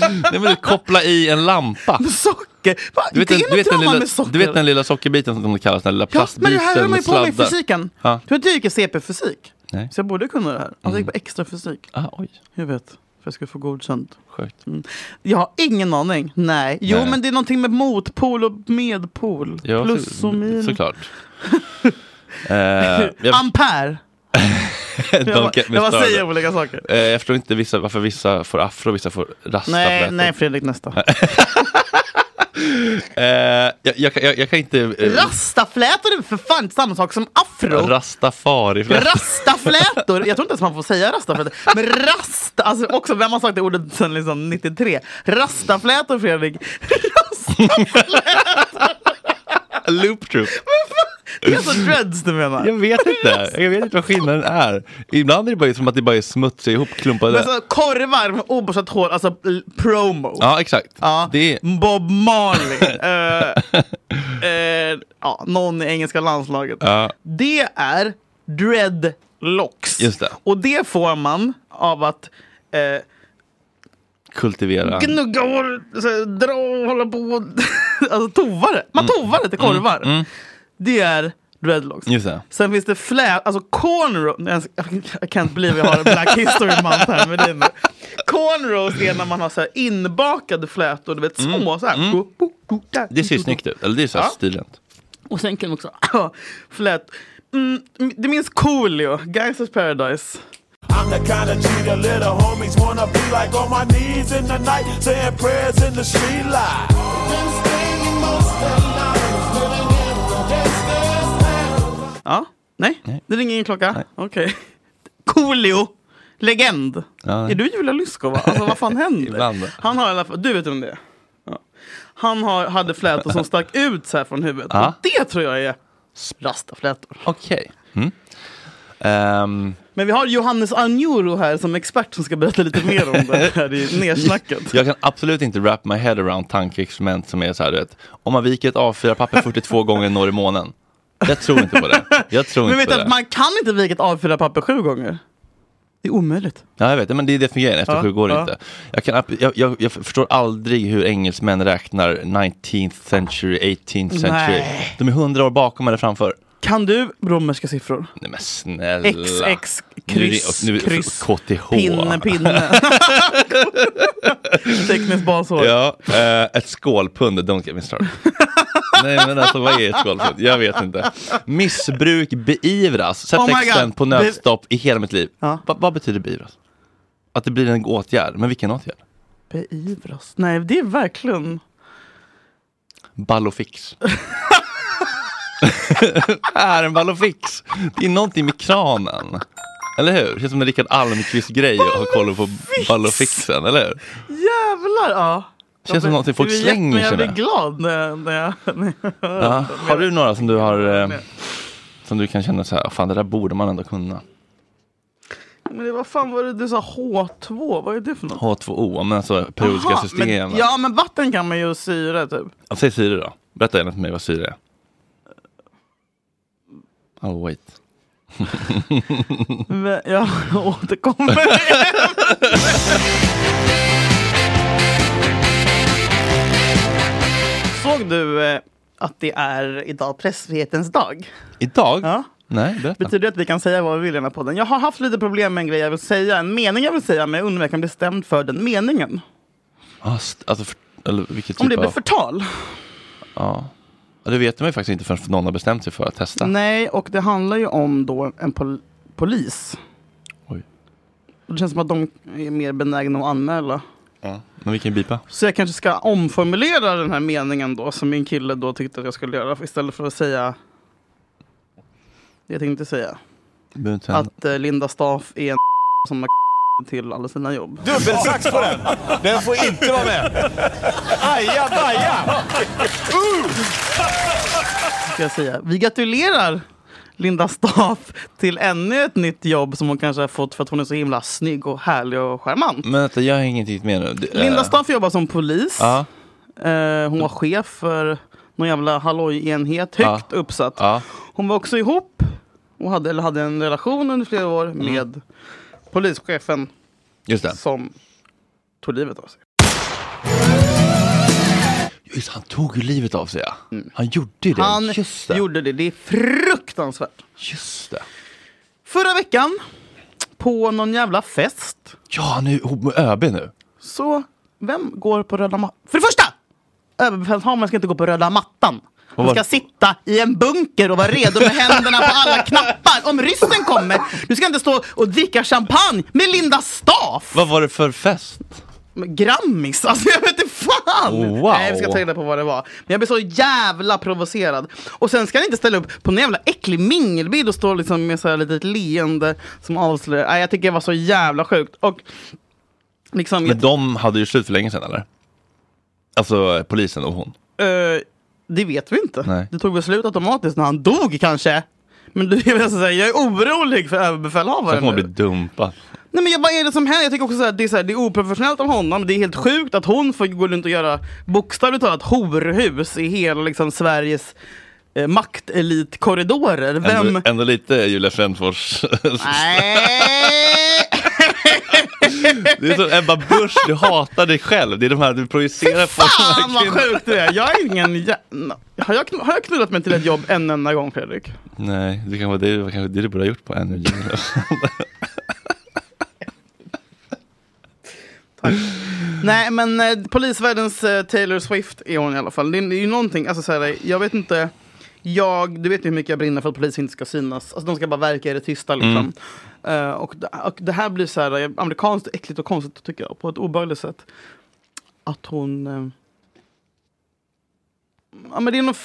Nej, men du, koppla i en lampa.
Socker! Va?
Du vet,
det
den,
är
du, vet
något
den
drama
lilla,
med socker.
du vet den lilla sockerbiten som de kallar, den lilla
ja, men
plastbiten
det här höll man
med
ju på med i
sladdar?
fysiken.
Ja.
Du vet, jag gick i CP-fysik.
Nej.
Så jag borde kunna det här. Alltså, jag gick på extra fysik.
Ah, oj,
Jag vet, för jag ska få godkänt.
sjukt.
Mm. Jag har ingen aning. Nej. Jo,
Nej.
men det är någonting med motpol och medpol.
Ja,
Plus
så-
och minus. [laughs]
Såklart. Eh, jag, jag,
Ampere. Jag,
don't
bara-
get me
jag bara säger
started.
olika saker.
Eh, jag förstår inte vissa, varför vissa får afro och vissa får
Nej,
rastaflätor.
nej Fredrik, nästa.
Eh, jag, jag, kan- jag, jag kan inte... Eh,
Rastaflätor är för fan inte samma sak som afro.
Rastafariflätor.
Rastaflätor, jag tror inte ens man får säga rastaflätor. Men rast, alltså också vem har sagt det ordet sedan liksom 93? Rastaflätor Fredrik. [laughs]
Loop troop.
Det är alltså dreads du menar.
Jag vet inte. Jag vet inte vad skillnaden är. Ibland är det bara som att det bara är smutsiga
Men
ihopklumpade.
så korvar med oborstat hår, alltså l- promo.
Ja, exakt.
Ja.
Det är... [laughs]
Bob Marley. Eh, eh, ja, någon i engelska landslaget.
Ja.
Det är dread locks.
Just det.
Och det får man av att eh,
Kultivera.
gnugga hår, så här, dra och hålla på och [laughs] alltså tovar det.
Mm.
Man tovar det till korvar. Det är dreadlocks.
Just det.
Sen finns det flä... Alltså cornrows... Jag jag can't believe jag har en black history month här med det nu. Cornrows är när man har så här inbakade flätor, du vet små så här.
Mm. Det ser ju snyggt ut. Eller det är så här
Ja.
stilrent.
Och sen kan man också... [clears throat] flät... Mm, du minns Coolio, Gangsters Paradise.
I'm the kind of cheater little homies wanna be like on my knees in the night, saying prayers in the street light.
Ja? Nej? Det ringer ingen klocka? Okej. [laughs] Coolio! Legend!
Ja.
Är du Julia Lyskova? Alltså vad fan händer?
[laughs] Ibland.
Han har i alla fall, du vet vem det är? Ja. Han har, hade flätor som stack ut så här från huvudet.
Ja.
Och det tror jag är rastaflätor.
Okej. Mm. Ehm,
Men vi har Johannes Anjuro här som expert som ska berätta lite mer om det
[laughs]
här i nersnacket.
jag kan absolut inte wrap my head around tankeexperiment som är så här, du vet, om man viker ett A4-papper
[laughs]
42 gånger når i månen. Jag tror inte på det. Jag tror
Men
inte
vet
på
du
det.
att man kan inte vika ett A4-papper sju gånger? Det är omöjligt.
Ja, jag vet, men det är det som är grejen. Efter
Ja,
sju går det
ja.
inte. Jag, kan, ab- jag, jag, jag förstår aldrig hur engelsmän räknar 19th century, 18th century.
Nej.
De är hundra år bakom eller framför.
Kan du romerska siffror?
Nej men snälla.
XX,
Nu är det-
kryss,
nu är det-
kryss,
KTH.
pinne,
[laughs]
pinne. Tekniskt basår.
Ja, eh, ett skålpund, don't get me
[laughs]
started. Nej men alltså vad är ett skålpund? Jag vet inte. Missbruk beivras. Sätt
Oh my
texten
God.
på nödstopp i hela mitt liv.
Ja.
Va, vad betyder beivras? Att det blir en åtgärd, men vilken åtgärd?
Beivras. Nej, det är verkligen... [laughs]
Ballofix. är en ballofix. Det är någonting med kranen. Eller hur? Det känns som en Rickard Almqvist-grej att ha koll på ballofixen, eller hur?
Jävlar! Ja.
Det känns som någonting folk
Det är
slänger
jätte-
sig
Jag blir
med.
glad när jag, [laughs] när jag, när jag hör
Ja.
det.
Har du några som du har eh,
Nej.
som du kan känna så här, fan det där borde man ändå kunna?
Men det, vad fan var det du sa? H2? Vad är det för något?
H2O, men alltså periodiska
Jaha,
system.
Men, ja, men vatten kan man ju syra typ.
Ja, Säg syre då. Berätta gärna för mig vad syre är. I'll wait.
Men jag [laughs] återkommer. [laughs] Såg du eh, att det är idag pressfrihetens dag?
Idag?
Ja.
Nej, berätta.
Betyder det att vi kan säga vad vi vill i den här podden? Jag har haft lite problem med en grej jag vill säga, en mening jag vill säga, men jag undrar om jag kan bli stämd för den meningen.
Ah, st- alltså, för, eller vilket
Om
typ
det blir
av...
förtal.
Ja. ja. Det vet man ju faktiskt inte förrän någon har bestämt sig för att testa.
Nej, och det handlar ju om då en pol- polis.
Oj.
Och det känns som att de är mer benägna att anmäla.
Ja. Men vi kan ju bipa.
Så jag kanske ska omformulera den här meningen då, som min kille då tyckte att jag skulle göra, istället för att säga det jag tänkte säga.
Det behöver inte hända.
Att eh, Linda Staaf är en [laughs] som har [laughs] till alla sina jobb.
Dubbelsax på den! Den får inte vara med! Aja baja!
ska jag säga. Vi gratulerar Linda Staaf till ännu ett nytt jobb som hon kanske har fått för att hon är så himla snygg och härlig och charmant.
Men vänta, jag hänger inte riktigt med nu. Det-
Linda
eh,
Staaf jobbar som polis.
Ja,
Eh, Hon var chef för någon jävla halloj-enhet, högt uppsatt.
ja.
Hon var också ihop och hade, eller hade en relation under flera år
Mm.
med polischefen
Just det.
som tog livet av sig.
Just, han tog ju livet av sig. ja. Han gjorde ju det.
Mm. Han
Just det.
gjorde det. Det är fruktansvärt.
Just det.
Förra veckan, på någon jävla fest,
Ja, han är ju ihop med ÖB nu.
Så vem går på röda mattan? För det första! Överbefälhavaren ska inte gå på röda mattan. Han
vad-
ska sitta i en bunker och vara redo med händerna på alla knappar om ryssen kommer. Du ska inte stå och dricka champagne med Linda Staaf.
Vad var det för fest?
Men Grammis, alltså jag vet inte fan!
Oh, wow.
Nej, vi ska ta reda på vad det var. Men jag blev så jävla provocerad. Och sen ska han inte ställa upp på någon jävla äcklig mingelbild och stå liksom med så här litet leende som avslöjar. Nej, jag tycker det var så jävla sjukt. Och liksom, jag
Men de hade ju slut för länge sedan eller? Alltså eh, polisen och hon.
Eh, det vet vi inte.
Nej.
Det tog väl slut automatiskt när han dog kanske. Men du, jag, vill alltså säga, jag är orolig för
Sen
överbefälhavaren
kommer hon
nu.
bli dumpad.
Nej, men jag, vad är det som händer? Jag tycker också så här, det, är så här, det är oprofessionellt av honom. Det är helt sjukt att hon får gå runt och göra bokstavligt talat horhus i hela liksom, Sveriges eh, maktelitkorridorer. Vem...
Ändå, ändå lite Julia Frändfors.
Nej!
[laughs] det är som Ebba Busch, du hatar dig själv. [laughs] Det är de här du projicerar på.
Fan vad sjukt du är. Jag är ingen jä- har, jag, kn- har jag knullat mig till ett jobb en enda gång Fredrik?
Nej, det kan vara det, det, var kanske det du borde ha gjort på Energy.
Nej men eh, polisvärldens eh, Taylor Swift är hon i alla fall. Det är, det är ju någonting, alltså så här, jag vet inte. Jag, du vet ju hur mycket jag brinner för att polisen inte ska synas. Alltså de ska bara verka i det tysta liksom.
Mm.
Eh, och, det- och det här blir så här eh, amerikanskt, äckligt och konstigt tycker jag. På ett obehagligt sätt. Att hon... eh, Ja men det är något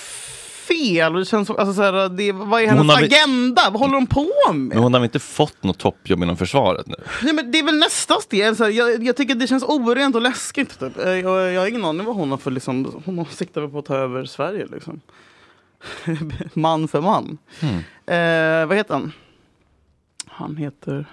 fel. Och det känns, som- alltså, så här, det, vad är
Hon
hennes
har väl-
agenda? Vad håller hon på med?
Men hon har väl inte fått något toppjobb inom försvaret nu?
Nej, men det är väl nästa steg. Alltså, jag, jag tycker det känns orent och läskigt. Typ. Eh, Jag, jag har ingen aning vad hon har för... Liksom, hon siktar väl på att ta över Sverige. Liksom. [laughs] man för man. Eh, vad heter han? Han heter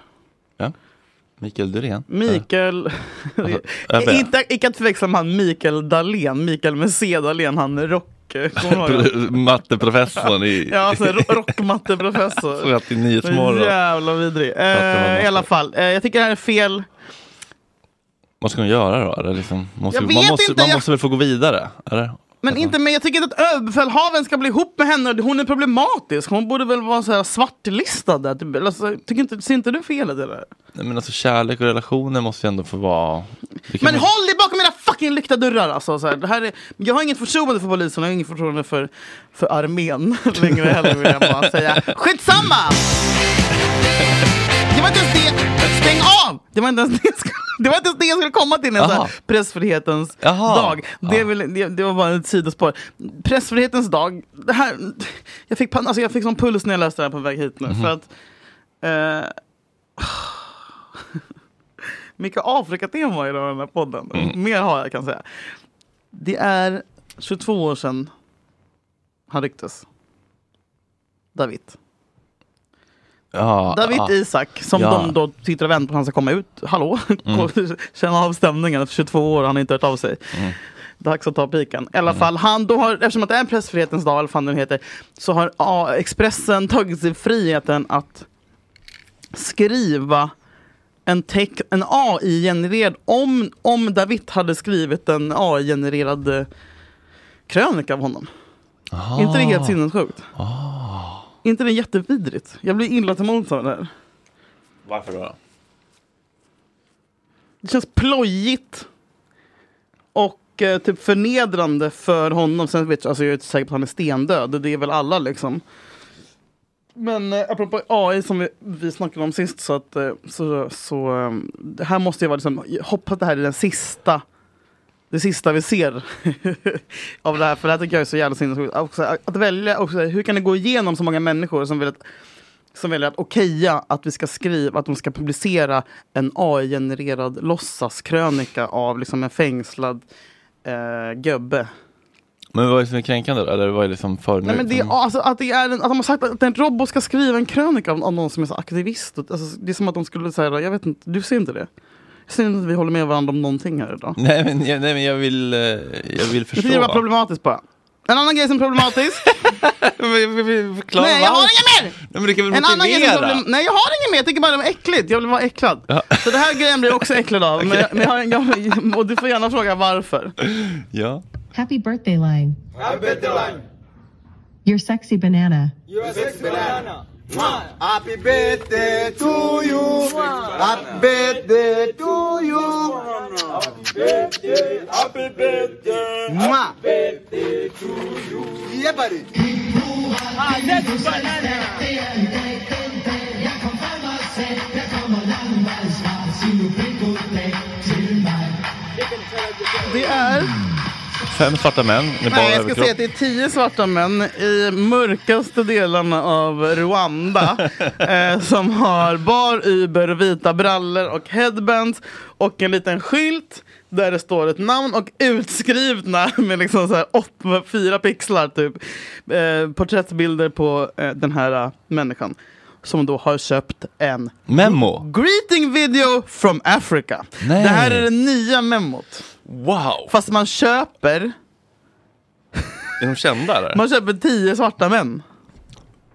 Mikael Durén?
Mikael... [laughs]
Ebbe.
inte, inte att förväxla med han Mikael Dahlén. Mikael med C. Dahlén, han är rock... eh,
[laughs]
kommer du ihåg det?
Matteprofessorn i
Ja, alltså, ro-
[laughs]
rockmatteprofessor. Så
79-morgon.
Jävla vidrig.
Pratar man
Eh, I alla
måste-
fall, eh, jag tycker det här är fel.
Vad ska hon göra då? Eller liksom, måste,
Jag
man,
vet
måste,
inte,
man
jag-
måste väl få gå vidare? Eller?
Men inte men jag tycker inte att överbefälhavaren ska bli ihop med henne. Hon är problematisk. Hon borde väl vara så här svartlistad. Där. typ. Eller så- tycker inte, ser inte du felet i det? där?
Nej, men alltså, kärlek och relationer måste ju ändå få vara... Det kan
Men
man-
håll dig bakom era fucking lyckta dörrar! Alltså, så här. Det här är, jag har inget förtroende för polisen, jag har inget förtroende för, för armén [laughs] längre heller vill jag bara säga. Skitsamma! Det var inte ens det, stäng av! Det var inte ens det jag skulle, det var inte ens det jag skulle komma till när jag sa
Jaha.
pressfrihetens
Jaha.
dag. Det, är väl, det, det var bara ett sidospår. Pressfrihetens dag, det här, jag, fick, pan- alltså jag fick sån puls när jag läste det här på väg hit nu.
Mhm.
För att, eh, [laughs] mycket Afrika-tema i den här podden.
Mm.
Mer har jag kan säga. Det är 22 år sedan han rycktes. David.
Ja,
David
ja.
Isak, som
Ja.
de då sitter och väntar på att han ska komma ut. Hallå? [laughs] Känna av stämningen efter 22 år, han har inte hört av sig. Dags att ta piken. I alla fall, han då har, eftersom att det är pressfrihetens dag, eller vad fan den heter, så har ja, Expressen tagit sig friheten att skriva en, text- en AI-genererad, om, om David hade skrivit en AI-genererad eh, krönika av honom. Är inte det helt sinnessjukt? Är inte det jättevidrigt? Jag blir illa till mods av det här.
Varför då?
Det känns plojigt. Och eh, typ förnedrande för honom. Sen vet jag, alltså jag är inte säker på att han är stendöd. Det är väl alla liksom. Men eh, apropå AI som vi, vi snackade om sist. Så att eh, så, så eh, det här måste ju vara liksom. Jag hoppas att det här är den sista. Det sista vi ser [laughs] av det här. För det här tycker jag är så jävla sinnessjukt. Också, Att välja också. Hur kan det gå igenom så många människor som vill att som väljer att okeja att vi ska skriva, att de ska publicera en AI-genererad låtsaskrönika av liksom en fängslad eh, gubbe.
Men vad är det som är kränkande då? Eller vad är det som för Mm.
Nej, men det är, alltså, att, det är en, att de har sagt att en robot ska skriva en krönika av, av någon som är så aktivist. Och, Alltså, det är som att de skulle säga, jag vet inte, du ser inte det? Jag ser inte att vi håller med varandra om någonting här idag.
Nej, men, jag, nej, men jag vill, eh, jag vill
Jag tycker det var
[laughs] förstå.
problematiskt bara. En annan grej som är problematisk.
Förklara
Nej, jag har
varför.
inget mer!
Nej, men du kan väl
En annan grej som
motivera?
problem... Nej jag har inget mer, jag tycker bara det var äckligt. Jag vill vara äcklad. Så det här grejen blir jag också äcklad av. Men jag, men jag har, jag, och du får gärna fråga varför.
Ja.
Happy birthday, Lang. Happy birthday, Lang. You're sexy banana.
Happy birthday to you. Happy birthday to you. Happy birthday. Happy birthday to you. Yeah, buddy.
Det är...
Fem svarta män med bara
Nej, jag ska
överkropp.
säga att det är tio svarta män i mörkaste delarna av
[laughs]
Rwanda eh, som har bar, Uber, vita brallor och headbands och en liten skylt där det står ett namn och utskrivna [laughs] med liksom så här åtta, fyra pixlar typ eh, porträttbilder på eh, den här eh, människan som då har köpt en
Memo!
greeting video from Africa.
Nej.
Det här är det nya memot.
Wow!
Fast man köper
Är de kända eller?
Man köper tio svarta män.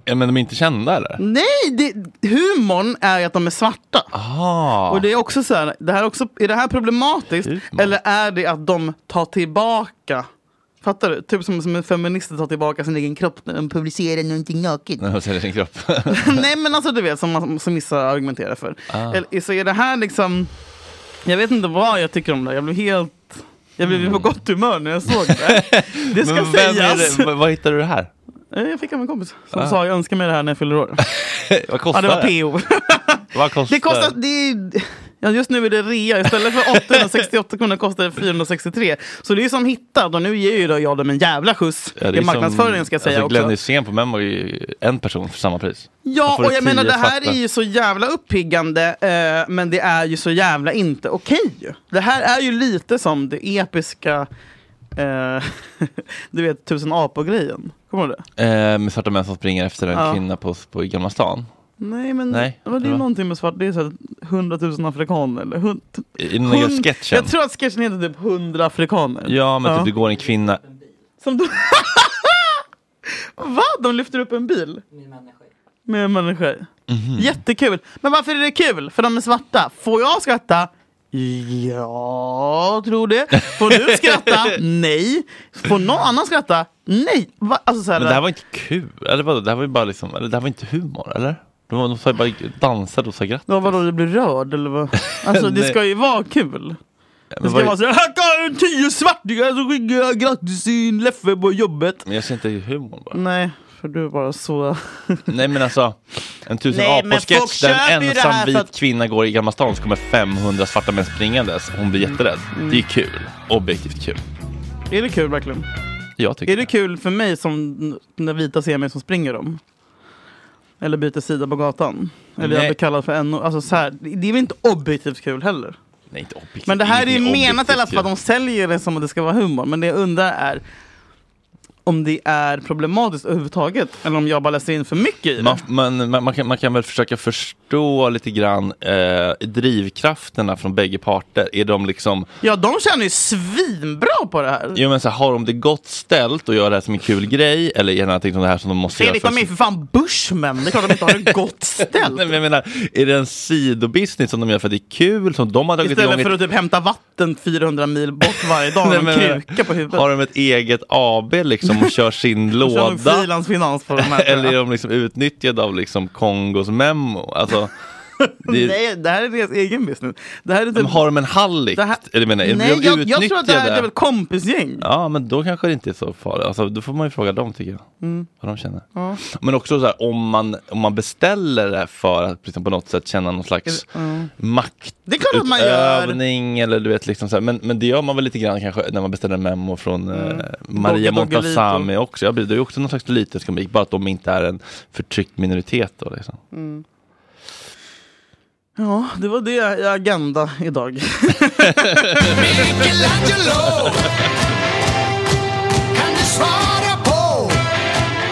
Ja, men de är inte kända
Mm.
eller?
Nej, det, humorn är ju att de är svarta.
Ah.
Och det är också så här, det här är också, är det här problematiskt?
Utmaning.
Eller är det att de tar tillbaka Fattar du? Typ som, som en feminist tar tillbaka sin egen kropp när de publicerar
[laughs]
någonting naket.
När de säljer sin kropp.
Nej men alltså du vet, som, man- som vissa argumenterar för.
Ah.
Eller, så är det här liksom, jag vet inte vad jag tycker om det här. Jag blev helt, jag blev på gott humör när jag såg det.
[laughs]
Det ska
Mm. Men vem är
sägas.
det? Ah. V- Vad hittar du det här?
Eh, Jag fick av en kompis som sa jag önskar mig det här när jag fyller år.
Vad
Ja
kostar [laughs]
det var PO.
Vad kostar
Det kostar, det är, [laughs] ja, just nu är det rea. Istället för 868 kronor kostar det 463. Så det är ju som hittat och nu ger ju då jag dem en jävla skjuts
Ja, det är
i marknadsföringen
som-
ska jag säga
alltså, Glenn
också.
Hysén på Memo är ju en person för samma pris. Då
Ja,
får
och
du
jag menar
tio
det här
svarta.
är ju så jävla uppiggande eh, men det är ju så jävla inte okej. Det här är ju lite som det episka, eh, [laughs] du vet tusen apor-grejen. Kommer du ihåg det?
Eh, med svarta män som springer efter en
Ja.
kvinna på, på i Gamla stan.
Nej men
Nej,
det var det
det
är
var-
någonting med svart, det är såhär 100 000 afrikaner eller hund,
I den nya
hund-
sketchen.
Jag tror att sketchen heter typ 100 afrikaner.
Ja, men typ det går en kvinna.
Som de... [laughs] Va? De lyfter upp en bil? Med en människa i.
Mhm.
Jättekul. Men varför är det kul? För de är svarta. Får jag skratta? Ja, tror det. Får
[laughs]
du skratta? Nej. Får någon annan skratta? Nej. Va? Alltså, så här,
Men det här var inte kul. Eller vadå? Det här var ju bara liksom, eller det här var inte humor, eller? De, var- de sa ju bara dansade och sa grattis.
Ja, vadå, du blir rörd eller vad? Alltså det
Nej.
ska ju vara kul. Det
Men
ska
vad-
vara så här, här kommer tio svartingar som skickar grattis till Leffe på jobbet.
Men jag ser inte humorn bara.
Nej, för du är bara så... [laughs]
Nej men alltså, en tusen
Nej, men folk
apor-sketch där en
köper ju det här
ensam vit
för att-
kvinna går i Gamla stan så kommer 500 svarta män springandes. Hon blir jätterädd. Det
Mm.
är kul. Objektivt kul.
Är det kul verkligen?
Jag tycker
Är det kul för mig som när vita ser mig som springer dem? Eller byter sida på gatan? Eller jag
Nej.
blir kallad för NO? Alltså så här, det är väl inte objektivt kul heller?
Nej, inte objektivt.
Men det här är ju
Ingenting
menat i alla fall
objektivt
att de säljer det som att det ska vara humor. Men det jag undrar är om det är problematiskt överhuvudtaget eller om jag bara läser in för mycket i
ju.
det.
man, man, man, man, kan, man kan väl försöka förstå lite grann eh, drivkrafterna från bägge parter. Är de liksom,
Ja, de tjänar ju svinbra på det här.
jo, men så här, har de det gott ställt och gör det här som en kul grej eller är det någonting som det här som de måste
Fredrik,
göra
de är ju för fan Bushmen. Det är klart de inte har det gott
[laughs] Nej,
ställt.
men jag menar, är det en sidobusiness som de gör för att det är kul, som de har dragit
Istället
igång [laughs]
för att typ hämta vatten 400 mil bort varje dag med en
Nej, men-
kruka på huvudet.
Har de ett eget AB liksom och kör sin
[laughs] Och sen nog
låda?
frilansfinans på
[laughs]
de här.
Eller är de liksom utnyttjade av liksom Kongos memo?
[laughs]
Alltså, det,
Nej, det här är deras egen business. Det här är
de
typ...
har de en hallick?
det här-
Eller menar, är
Nej,
de
jag, jag tror att det här är
utnyttjade?
typ ett kompisgäng.
Ja, men då kanske det inte är så farligt. Alltså, då får man ju fråga dem tycker jag.
Mm.
Vad de känner. Men också så här, om, man, om man beställer det för att liksom, på något sätt känna någon slags makt
Det är klart att man gör.
maktutövning. Eller du vet, liksom så här. Men, men det gör man väl lite grann kanske när man beställer en memo från
Mm.
eh, Maria
Dogge Doggelito.
Montazami också. Ja, precis. det är ju också någon slags litenskombik, bara att de inte är en förtryckt minoritet. Då, liksom.
Ja, det var det i Agenda idag.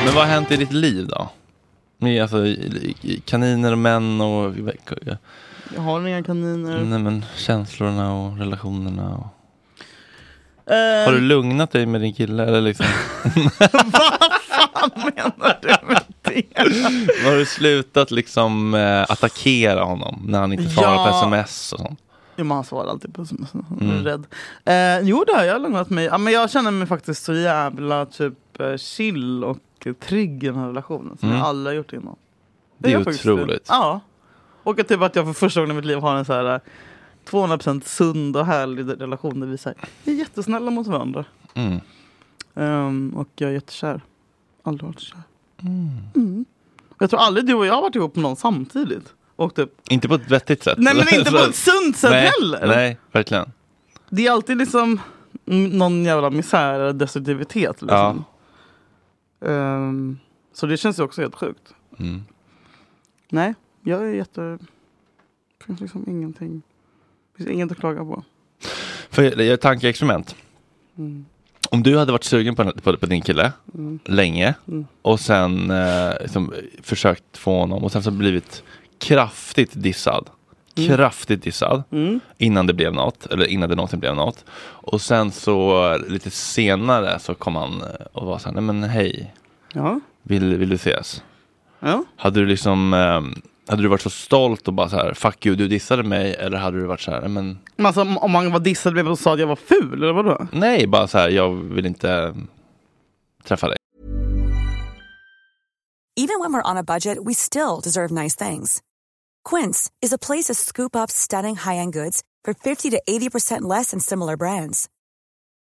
Men vad har hänt i ditt liv då? Med, alltså, i- i- i- kaniner och män och
Jag har inga kaniner.
nej, men, känslorna och relationerna. Och...
Eh,
Har du lugnat dig med din kille? Eller
[laughs]
liksom,
Vad [laughs] menar du med det?
har du slutat liksom, eh, attackera honom när han inte svarar på
Ja.
sms? Och sånt?
Jo, men han svarar alltid på sms. Jag
Mm.
är rädd. Eh, jo, det har jag lugnat mig. Ja, men jag känner mig faktiskt så jävla typ eh, chill och eh, trygg i den här relationen som jag aldrig har gjort innan.
Mm. Det
gör
är
jag faktiskt det.
otroligt.
Ja. Och att typ att jag för första gången i mitt liv har en så här eh, 200% sund och härlig relation där vi så här, vi är jättesnälla mot varandra.
Mm.
Ehm, och jag är jättekär. Aldrig varit så kär. Mm. Jag tror aldrig du och jag har varit ihop med någon samtidigt. Och typ,
Inte på ett vettigt sätt.
nej men inte
[laughs]
på
Så-
ett sunt sätt
nej,
heller.
Nej, verkligen.
Det är alltid liksom mm, någon jävla misär eller destruktivitet. Liksom. Ehm, så det känns ju också helt sjukt.
Mm.
Nej, jag är jätte... Det finns liksom ingenting. Det finns inget att klaga på.
För jag gör ett tankeexperiment. Om du hade varit sugen på, på, på din kille länge och sen eh, liksom, försökt få honom och sen så blivit kraftigt dissad. kraftigt dissad innan det blev något, eller innan det någonsin blev något. Och sen så lite senare så kom han eh, och var så här, nej men hej,
Ja.
vill, vill du ses?
ja.
Hade du liksom, ehm, hade du varit så stolt och bara så här, fuck you, du dissade mig, eller hade du varit så här, nej men
Men alltså om- om man var dissad blev man och sa att jag var ful eller vadå?
nej, bara så här, jag vill inte eh, träffa dig.
Even when we're on a budget, we still deserve nice things. Quince is a place to scoop up stunning high-end goods for 50 to 80% less than similar brands.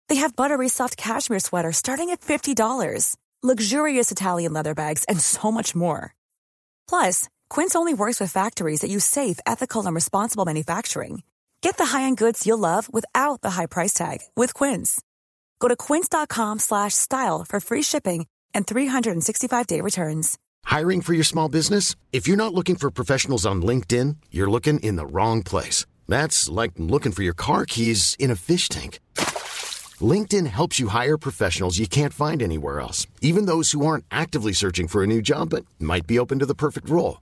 They have buttery soft cashmere sweaters starting at $50, luxurious Italian leather bags, and so much more. Plus, Quince only works with factories that use safe, ethical, and responsible manufacturing. Get the high-end goods you'll love without the high price tag with Quince. Go to quince.com slash style for free shipping and 365-day returns.
Hiring for your small business? If you're not looking for professionals on LinkedIn, you're looking in the wrong place. That's like looking for your car keys in a fish tank. LinkedIn helps you hire professionals you can't find anywhere else, even those who aren't actively searching for a new job but might be open to the perfect role.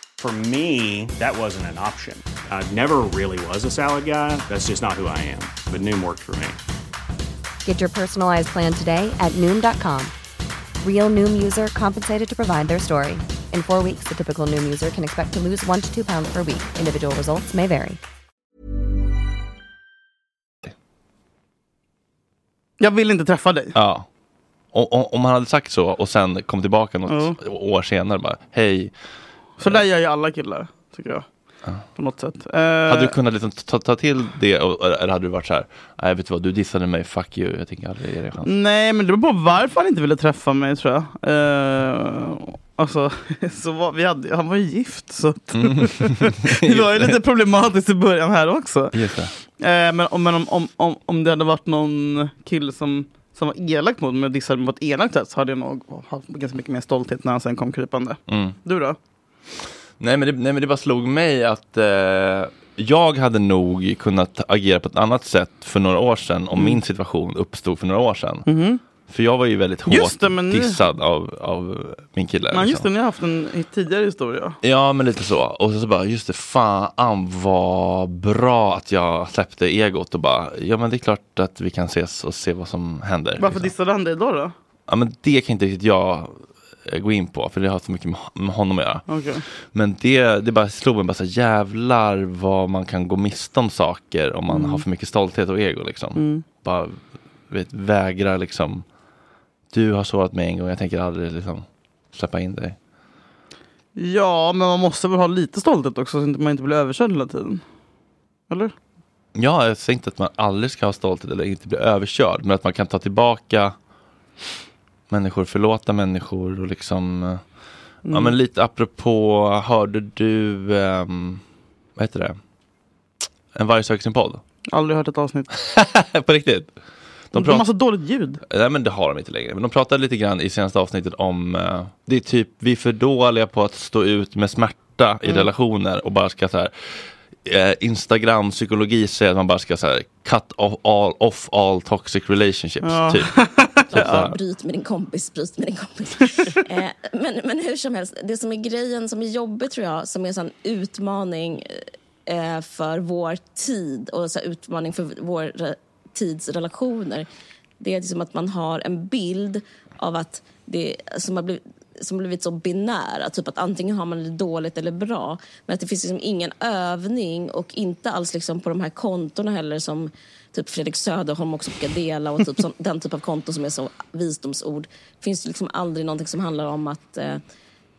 For me, that wasn't an option. I never really was a salad guy. That's just not who I am. But Noom worked for me.
Get your personalized plan today at Noom.com. Real Noom user compensated to provide their story. In four weeks, the typical Noom user can expect to lose one to two pounds per week. Individual results may vary.
Jag vill inte träffa dig.
Ja. Och, och, om han hade sagt så och sen kom tillbaka något år senare bara, hej,
Så där gör ju alla killar, tycker jag. På något sätt. Eh,
hade du kunnat liksom ta, ta till det och, eller hade du varit så här, nej vet du vad, du dissade mig, fuck you, jag tänker aldrig ge dig chans.
Nej, men det beror på varför han inte ville träffa mig tror jag. Eh, alltså, [laughs] så var, vi hade, han var ju gift så att
Mm.
[laughs]
[laughs]
det var ju lite problematiskt i början här också.
Just det.
Eh, men om, men om, om, om, om det hade varit någon kille som, som var elak mot mig och dissade mig på ett elakt sätt så hade jag nog haft ganska mycket mer stolthet när han sen kom krypande.
Mm.
Du då?
Nej men, det, nej men det bara slog mig att eh, jag hade nog kunnat agera på ett annat sätt för några år sedan om
Mm.
min situation uppstod för några år sedan. För jag var ju väldigt hårt
Mm-hmm. Just det, men nu-
dissad av, av min kille.
Nej, just
liksom.
det, ni har haft en tidigare historia.
Ja men lite så. Och så, så bara, just det, fan vad bra att jag släppte egot och bara, ja men det är klart att vi kan ses och se vad som händer.
Varför
liksom.
dissade han dig då? då?
Ja men det kan inte riktigt jag eh, gå in på, för det har så mycket med hon- med honom att göra.
Okej.
Men det, det bara slog mig, bara så här, jävlar vad man kan gå miste om saker om man har för mycket stolthet och ego. Liksom. Bara vet, vägrar liksom, du har sårat mig en gång, jag tänker aldrig liksom, släppa in dig.
Ja, men man måste väl ha lite stolthet också så att man inte blir överkörd hela tiden. Eller?
Ja, jag säger inte att man aldrig ska ha stolthet eller inte bli överkörd, men att man kan ta tillbaka människor, förlåta människor och liksom, eh, ja men lite apropå, hörde du, ehm, vad heter det, En varg söker sin podd? [laughs]
Aldrig hört ett avsnitt.
På riktigt? De
De, de har
pratar,
så dåligt ljud.
nej men det har de inte längre, men de pratade lite grann i senaste avsnittet om, eh, det är typ, vi är för dåliga på att stå ut med smärta
Mm.
i relationer och bara ska så här, eh, Instagram-psykologi säger att man bara ska så här, cut off all, off all toxic relationships,
Ja. [laughs]
typ. typ så här.
Bryt med din kompis, bryt med din kompis. eh, men, men hur som helst, det som är grejen som är jobbigt tror jag, som är en sån utmaning eh, för vår tid och så här, utmaning för vår re- tids relationer, det är liksom att man har en bild av att det som har blivit som blivit så binära, typ att antingen har man det dåligt eller bra. Men att det finns liksom ingen övning och inte alls liksom på de här kontona heller som typ Fredrik Söderholm också brukar dela och typ som, den typ av konton som är så visdomsord. finns det liksom aldrig någonting som handlar om att eh,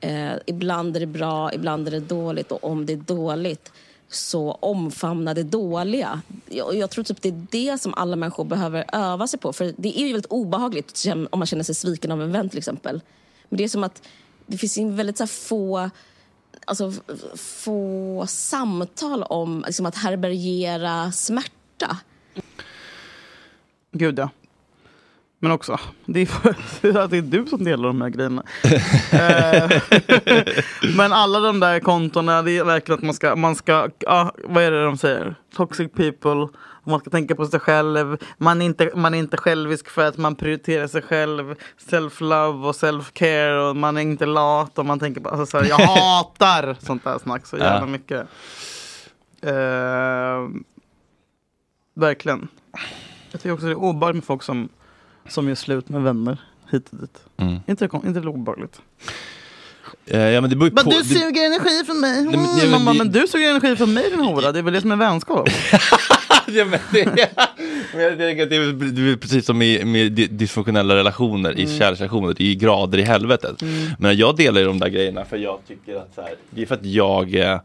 eh, ibland är det bra, ibland är det dåligt och om det är dåligt så omfamna det dåliga. Jag, jag tror typ det är det som alla människor behöver öva sig på. För det är ju väldigt obehagligt att känna- om man känner sig sviken av en vän till exempel. Men det är som att det finns ju väldigt så här, få alltså, f- få samtal om liksom, att härbärgera smärta.
Gud ja. Men också, det är, för, [laughs] det är du som delar de här grejerna. Eh, [laughs] Men alla de där kontona, det är verkligen att man ska, man ska ah, vad är det de säger? Toxic people, man ska tänka på sig själv, man är inte, man är inte självisk för att man prioriterar sig själv, self-love och self-care och man är inte lat och man tänker på, alltså, så här, jag hatar sånt där snack så jävla
Ja.
mycket. Eh, verkligen. Jag tycker också det är obehagligt med folk som, som gör slut med vänner hit och dit.
Mm.
Inte det, kon- inte det obehagligt?
Eh, ja, men det beror ju
Men
på.
du
det-
suger energi från mig.
men-
Mm,
ja, men
mamma,
det-
men du suger energi från mig din hora. Det är väl det som
[laughs]
är vänskap?
[laughs] ja, men det, [laughs] men jag tänker att det, är, väl- det är väl precis som i med di- dysfunktionella relationer, i
Mm.
kärleksrelationer, det är ju grader i helvetet.
Mm.
Men jag delar ju de där grejerna för jag tycker att så här, det är för att jag, eh, eh,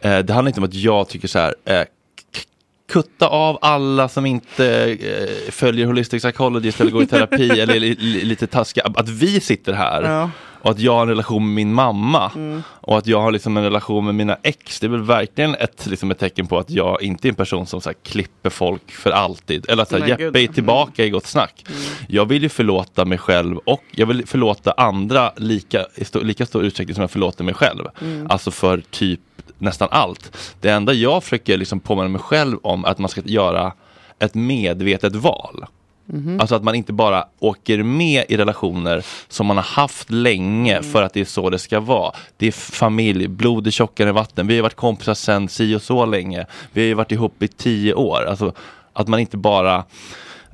det handlar inte om att jag tycker så här, eh, k- kutta av alla som inte eh, följer Holistic Psychologist eller går i terapi eller är li, li, lite taskiga, att vi sitter här.
Ja.
Och att jag har en relation med min mamma och att jag har liksom en relation med mina ex. Det är väl verkligen ett, liksom ett tecken på att jag inte är en person som så här, klipper folk för alltid. Eller att så här,
Nej,
Jeppe
gud. Mm.
är tillbaka i Gott Snack. Jag vill ju förlåta mig själv och jag vill förlåta andra lika, i sto- lika stor utsträckning som jag förlåter mig själv.
Mm.
Alltså för typ nästan allt. Det enda jag försöker liksom påminna mig själv om är att man ska göra ett medvetet val.
Mhm.
Alltså att man inte bara åker med i relationer som man har haft länge för att det är så det ska vara. Det är familj, blod är tjockare än vatten. Vi har ju varit kompisar sedan si och så länge. Vi har ju varit ihop i tio år. Alltså att man inte bara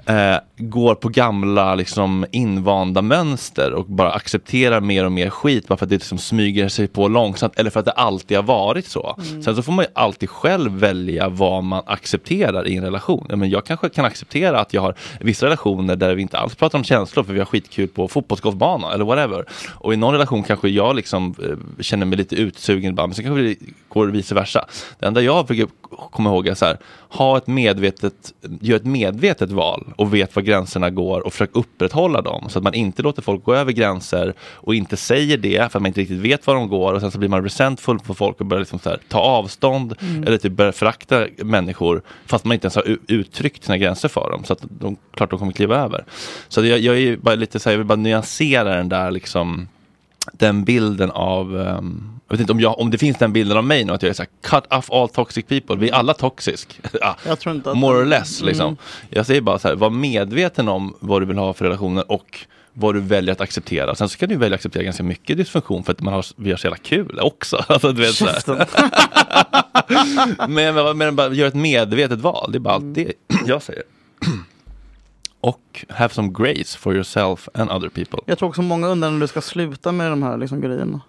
eh, går på gamla liksom, invanda mönster och bara accepterar mer och mer skit bara för att det liksom smyger sig på långsamt eller för att det alltid har varit så.
Mm.
Sen så får man ju alltid själv välja vad man accepterar i en relation. Ja, Men jag kanske kan acceptera att jag har vissa relationer där vi inte alls pratar om känslor för vi har skitkul på fotbollsgolfbanan eller whatever. Och i någon relation kanske jag liksom eh, känner mig lite utsugen ibland men sen kanske det går vice versa. Det enda jag brukar komma ihåg är så här, ha ett medvetet, gör ett medvetet val och vet var gränserna går och försök upprätthålla dem så att man inte låter folk gå över gränser och inte säger det för att man inte riktigt vet var de går och sen så blir man resentful på folk och börjar liksom så här, ta avstånd
Mm.
eller typ börja förakta människor fast man inte ens har u- uttryckt sina gränser för dem så att de klart de kommer kliva över. Så jag, jag är ju bara lite så här, jag vill bara nyansera den där liksom den bilden av, ehm, jag vet inte om, jag, om det finns den bilden av mig nu, att jag är så här, cut off all toxic people, vi är alla [laughs] toxisk. ja,
Jag tror inte att...
more or less liksom.
Mm.
Jag säger bara så här, var medveten om vad du vill ha för relationer och vad du väljer att acceptera. Sen så kan du välja att acceptera ganska mycket dysfunktion för att man har, vi har så jävla kul också. [laughs] Alltså, du vet, så här. men, men, men bara gör ett medvetet val, det är bara allt det
Mm.
jag säger. [clears throat] och have some grace for yourself and other people.
Jag tror också många undrar när du ska sluta med de här liksom, grejerna.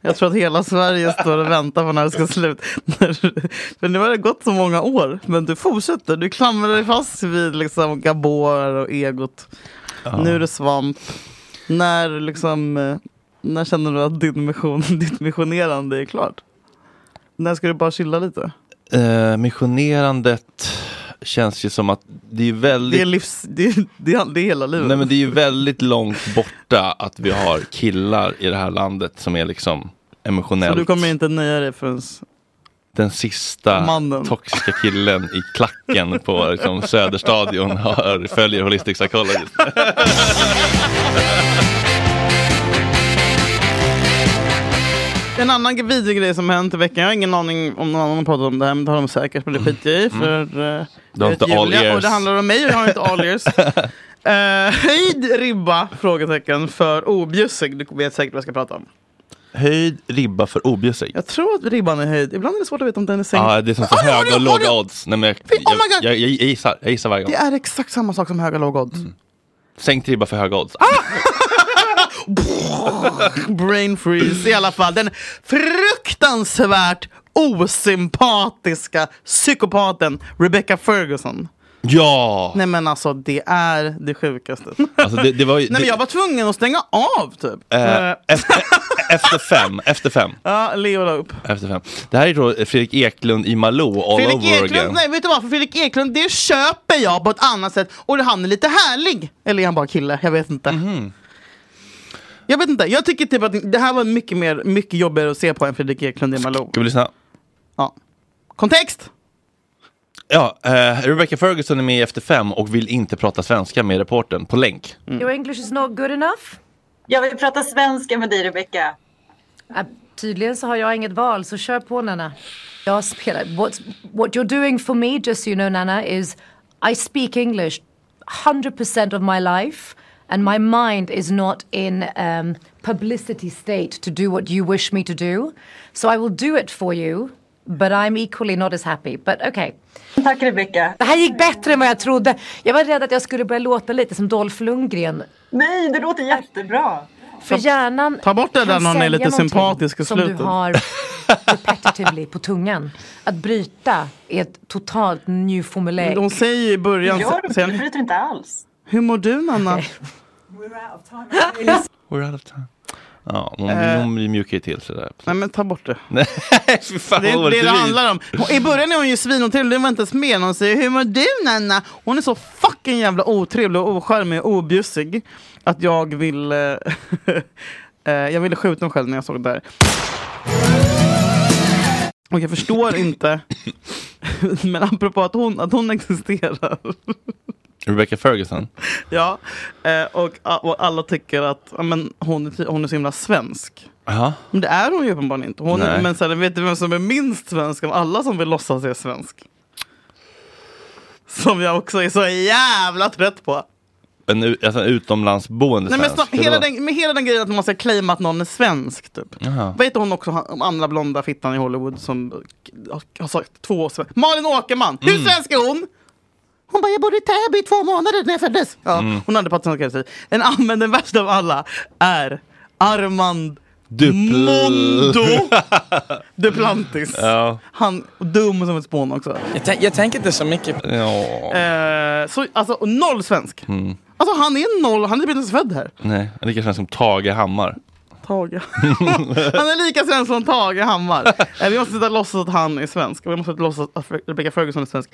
Jag tror att hela Sverige står och väntar på när det ska sluta. [laughs] För nu har det gått så många år, men du fortsätter. Du klamrar dig fast vid liksom gabor och egot. Nu är det svamp. När, liksom, eh, när känner du att din mission, [laughs] ditt missionerande är klart? När ska du bara chilla lite?
Eh, missionerandet känns ju som att det är väldigt...
Det är, livs, det är, det är, det är hela livet.
Nej men det är ju väldigt långt borta att vi har killar i det här landet som är liksom
så
emotionellt
du kommer inte nöja dig förrän...
den sista
Mannen.
toxiska killen i klacken på liksom, Söderstadion har, följer Holistic Psychologist.
En annan g- vidrig grej som hänt i veckan, jag har ingen aning om någon annan har pratat om det här, men det har de säkert, men det skiter jag i för eh,
Mm. Du har
jag
inte
heter
all
Julia,
ears.
Och det handlar om mig och jag har inte
[laughs]
all ears. Eh, höjd ribba? Frågetecken för objussig. Du vet säkert vad jag ska prata om.
Höjd ribba för objussig.
Jag tror att ribban är höjd. Ibland är det svårt att veta om den är sänkt.
Ja, det är som så
Har du- har
höga och
du- har du-
låga odds. Nej, men jag,
Oh my
jag,
God.
jag, jag gissar, jag gissar varje gång.
Det är exakt samma sak som höga och låga odds.
Mm. Sänkt ribba för höga odds.
[laughs] Ah! Brain freeze i alla fall. Den fruktansvärt osympatiska psykopaten Rebecca Ferguson.
Ja!
Nej men alltså det är
[laughs]
det sjukaste.
Alltså, det, det var ju,
Nej men jag var tvungen att stänga av typ.
det, eh, efter, efter fem, efter fem.
Ja, Leo la upp.
Efter fem. Det här är då Fredrik Eklund i Malou all
Fredrik
over
Eklund,
again.
nej vet du vad? För Fredrik Eklund, det köper jag på ett annat sätt. Och han är lite härlig. Eller är han bara kille? Jag vet inte.
Mhm.
Jag vet inte. Jag tycker typ att det här var mycket, mer, mycket jobbigare att se på än Fredrik Eklund i Malou.
Ska vi lyssna?
Kontext!
Ja, eh, Rebecca Ferguson är med i Efter fem och vill inte prata svenska med reportern på länk.
Your English is not good enough. Jag vill prata svenska med dig, Rebecca. Äh, tydligen så har jag inget val, så kör på, Nana. Jag spelar... What's, what you're doing for me, just so you know, Nana, is I speak English 100% of my life and my mind is not in um, publicity state to do what you wish me to do. So I will do it for you, but I'm equally not as happy. But okay. Tack Rebecca. Det här gick bättre än vad jag trodde. Jag var rädd att jag skulle börja låta lite som Dolph Lundgren. Nej, det låter jättebra. För hjärnan
Ta bort det
kan
där någon är
sälja
lite
någonting
sympatisk i
Som
slutet.
du
[laughs]
har typ. repetitively på tungan. Att bryta är ett totalt new formulaic.
Hon säger ju i början... sen-
inte alls.
Hur mår du Nanna?
We're out of time. Ja, hon,
Eh.
hon mjukar ju till sig där.
[laughs] Nej men ta bort det.
Nej, fy fan
Det
vad
är det det
orättvist.
handlar om. Hon- I början är hon ju svinotrevlig, det var inte ens med. Hon säger hur mår du Nanna? Hon är så fucking jävla otrevlig och ocharmig och objussig. Att jag vill... eh, [laughs] eh, jag ville skjuta mig själv när jag såg det där. Och jag förstår inte. [laughs] men apropå att hon, att hon existerar. [laughs]
Rebecca Ferguson.
ja. eh, och, och alla tycker att ja, men, hon, är, ty- hon är så himla svensk.
Jaha.
Men det är hon ju uppenbarligen inte. Hon,
Nej.
men sen vet du vem som är minst svensk av alla som vill låtsas är svensk? Som jag också är så jävla trött på.
En, u- alltså, en utomlandsboende
Nej, men
svensk.
så, hela, den, med hela den grejen att man ska claima att någon är svensk. Typ.
Jaha.
Vet hon också han- om andra blonda fittan i Hollywood som eh, har sagt två år svensk. Malin Åkerman! Hur
Mm.
svensk är hon? Hon bara, jag bodde i Täby i två månader när jag föddes. Ja,
Mm.
Hon hade pratat svenska hela tiden. En annan, den värsta av alla är Armand
Dupl- [laughs]
Mondo Duplantis.
Ja.
Han dum som ett spån också.
Jag, tän- jag tänker inte så mycket på
Ja.
Eh, så, alltså, och noll svensk.
Mm.
Alltså han är noll, han är typ inte ens född här.
Nej, lika svensk som Tage Hammar.
Tage. [laughs] Han är lika svensk som Tage Hammar. Eh, Vi måste sluta låtsas att han är svensk. Och Vi måste sluta låtsas att Rebecca Ferguson är svensk.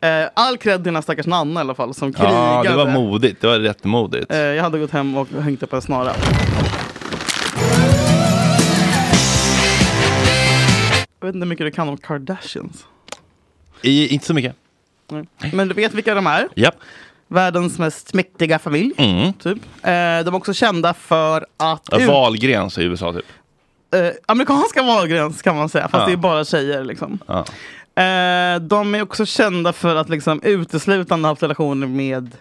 Eh, All cred till den här stackars Nanna i alla fall som krigade.
Ja, det var modigt. Det var rätt modigt.
Eh, Jag hade gått hem och hängt upp en snara. Jag vet inte hur mycket du kan om Kardashians.
I, inte så mycket.
Nej. Men du vet vilka de är?
Japp. Mm.
Världens mest mäktiga familj. Typ. Eh, De är också kända för att...
Ja,
ut-
Wahlgrens i USA typ.
eh, amerikanska valgräns kan man säga, fast
Ja.
det är bara tjejer. Liksom.
Ja.
Eh, de är också kända för att liksom, uteslutande ha haft relationer med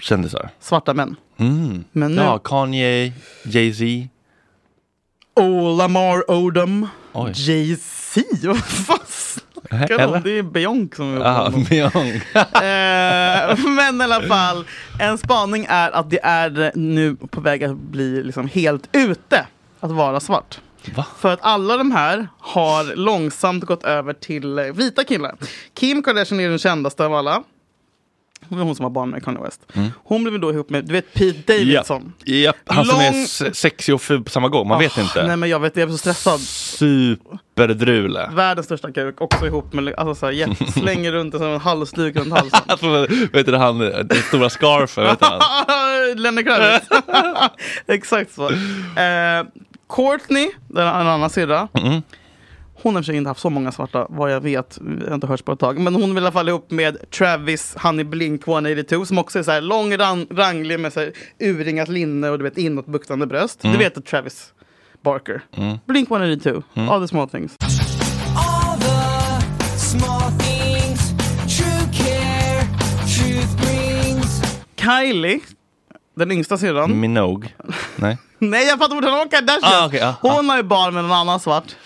Kändisar.
svarta män.
Mm.
Men nu-
Ja, Kanye, Jay-Z.
Oh, Lamar Odom,
Oj.
Jay-Z, [laughs] vad fan snackar du
Eller?
om? Det är Beyonce som är ihop med
Ja, [laughs]
honom.
Beyonce.
Eh, [laughs] men i alla fall, en spaning är att det är nu på väg att bli liksom helt ute att vara svart. För att alla de här har långsamt gått över till eh, vita killar. Kim Kardashian är den kändaste av alla. Hon är hon som har barn med Kanye West.
Mm.
Hon blev ju då ihop med, du vet Pete Davidson.
Japp, han som är
Lång-
se- sexig och ful på samma gång. Man vet
Ah,
inte.
Nej men jag vet, jag är så stressad.
Superdrule.
Världens största kuk, också ihop med, alltså så här, jätte- slänger [laughs] runt det som en halsduk runt halsen.
vet du han, den stora scarfen, vet du [laughs] han?
[laughs] Lenny Kravitz. Exakt så. Eh, Courtney, den en annan syrra.
Mm.
Hon har i och för sig inte haft så många svarta, vad jag vet. Jag har inte hörts på ett tag. Men hon vill i alla fall ihop med Travis, han i Blink-182, som också är så här lång, ran, ranglig med så här urringat linne och du vet inåtbuktande bröst.
Mm.
Du vet att Travis Barker.
Mm.
Blink-182, all the small things.
All the small things, true care, truth brings.
Kylie, den yngsta syrran.
Minogue. Nej.
[laughs] Nej, jag fattar fortfarande om Kardashian.
Ah, okej, ah,
hon har ju barn med någon annan svart.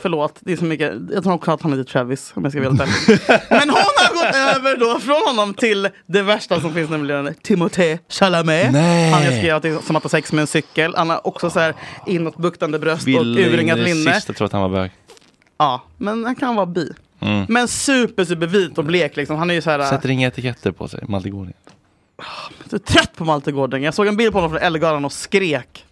Förlåt, det är så mycket. Jag tror också att han heter Travis om jag ska vara helt
[laughs]
ärlig. Men hon har gått över då från honom till det värsta som finns nämligen Timothée Chalamet.
Nej.
Han har skrivit som att ha sex med en cykel. Han har också så här inåtbuktande bröst och
Ville in i
urringat
det
linne.
Sista tror att han var bög.
Ja, men han kan vara bi.
Mm.
Men super, super vit och blek liksom. Han är ju så här...
Sätter inga etiketter på sig, Malte Gårding.
Jag är trött på Malte Gårding. Jag såg en bild på honom från Ellegalan och skrek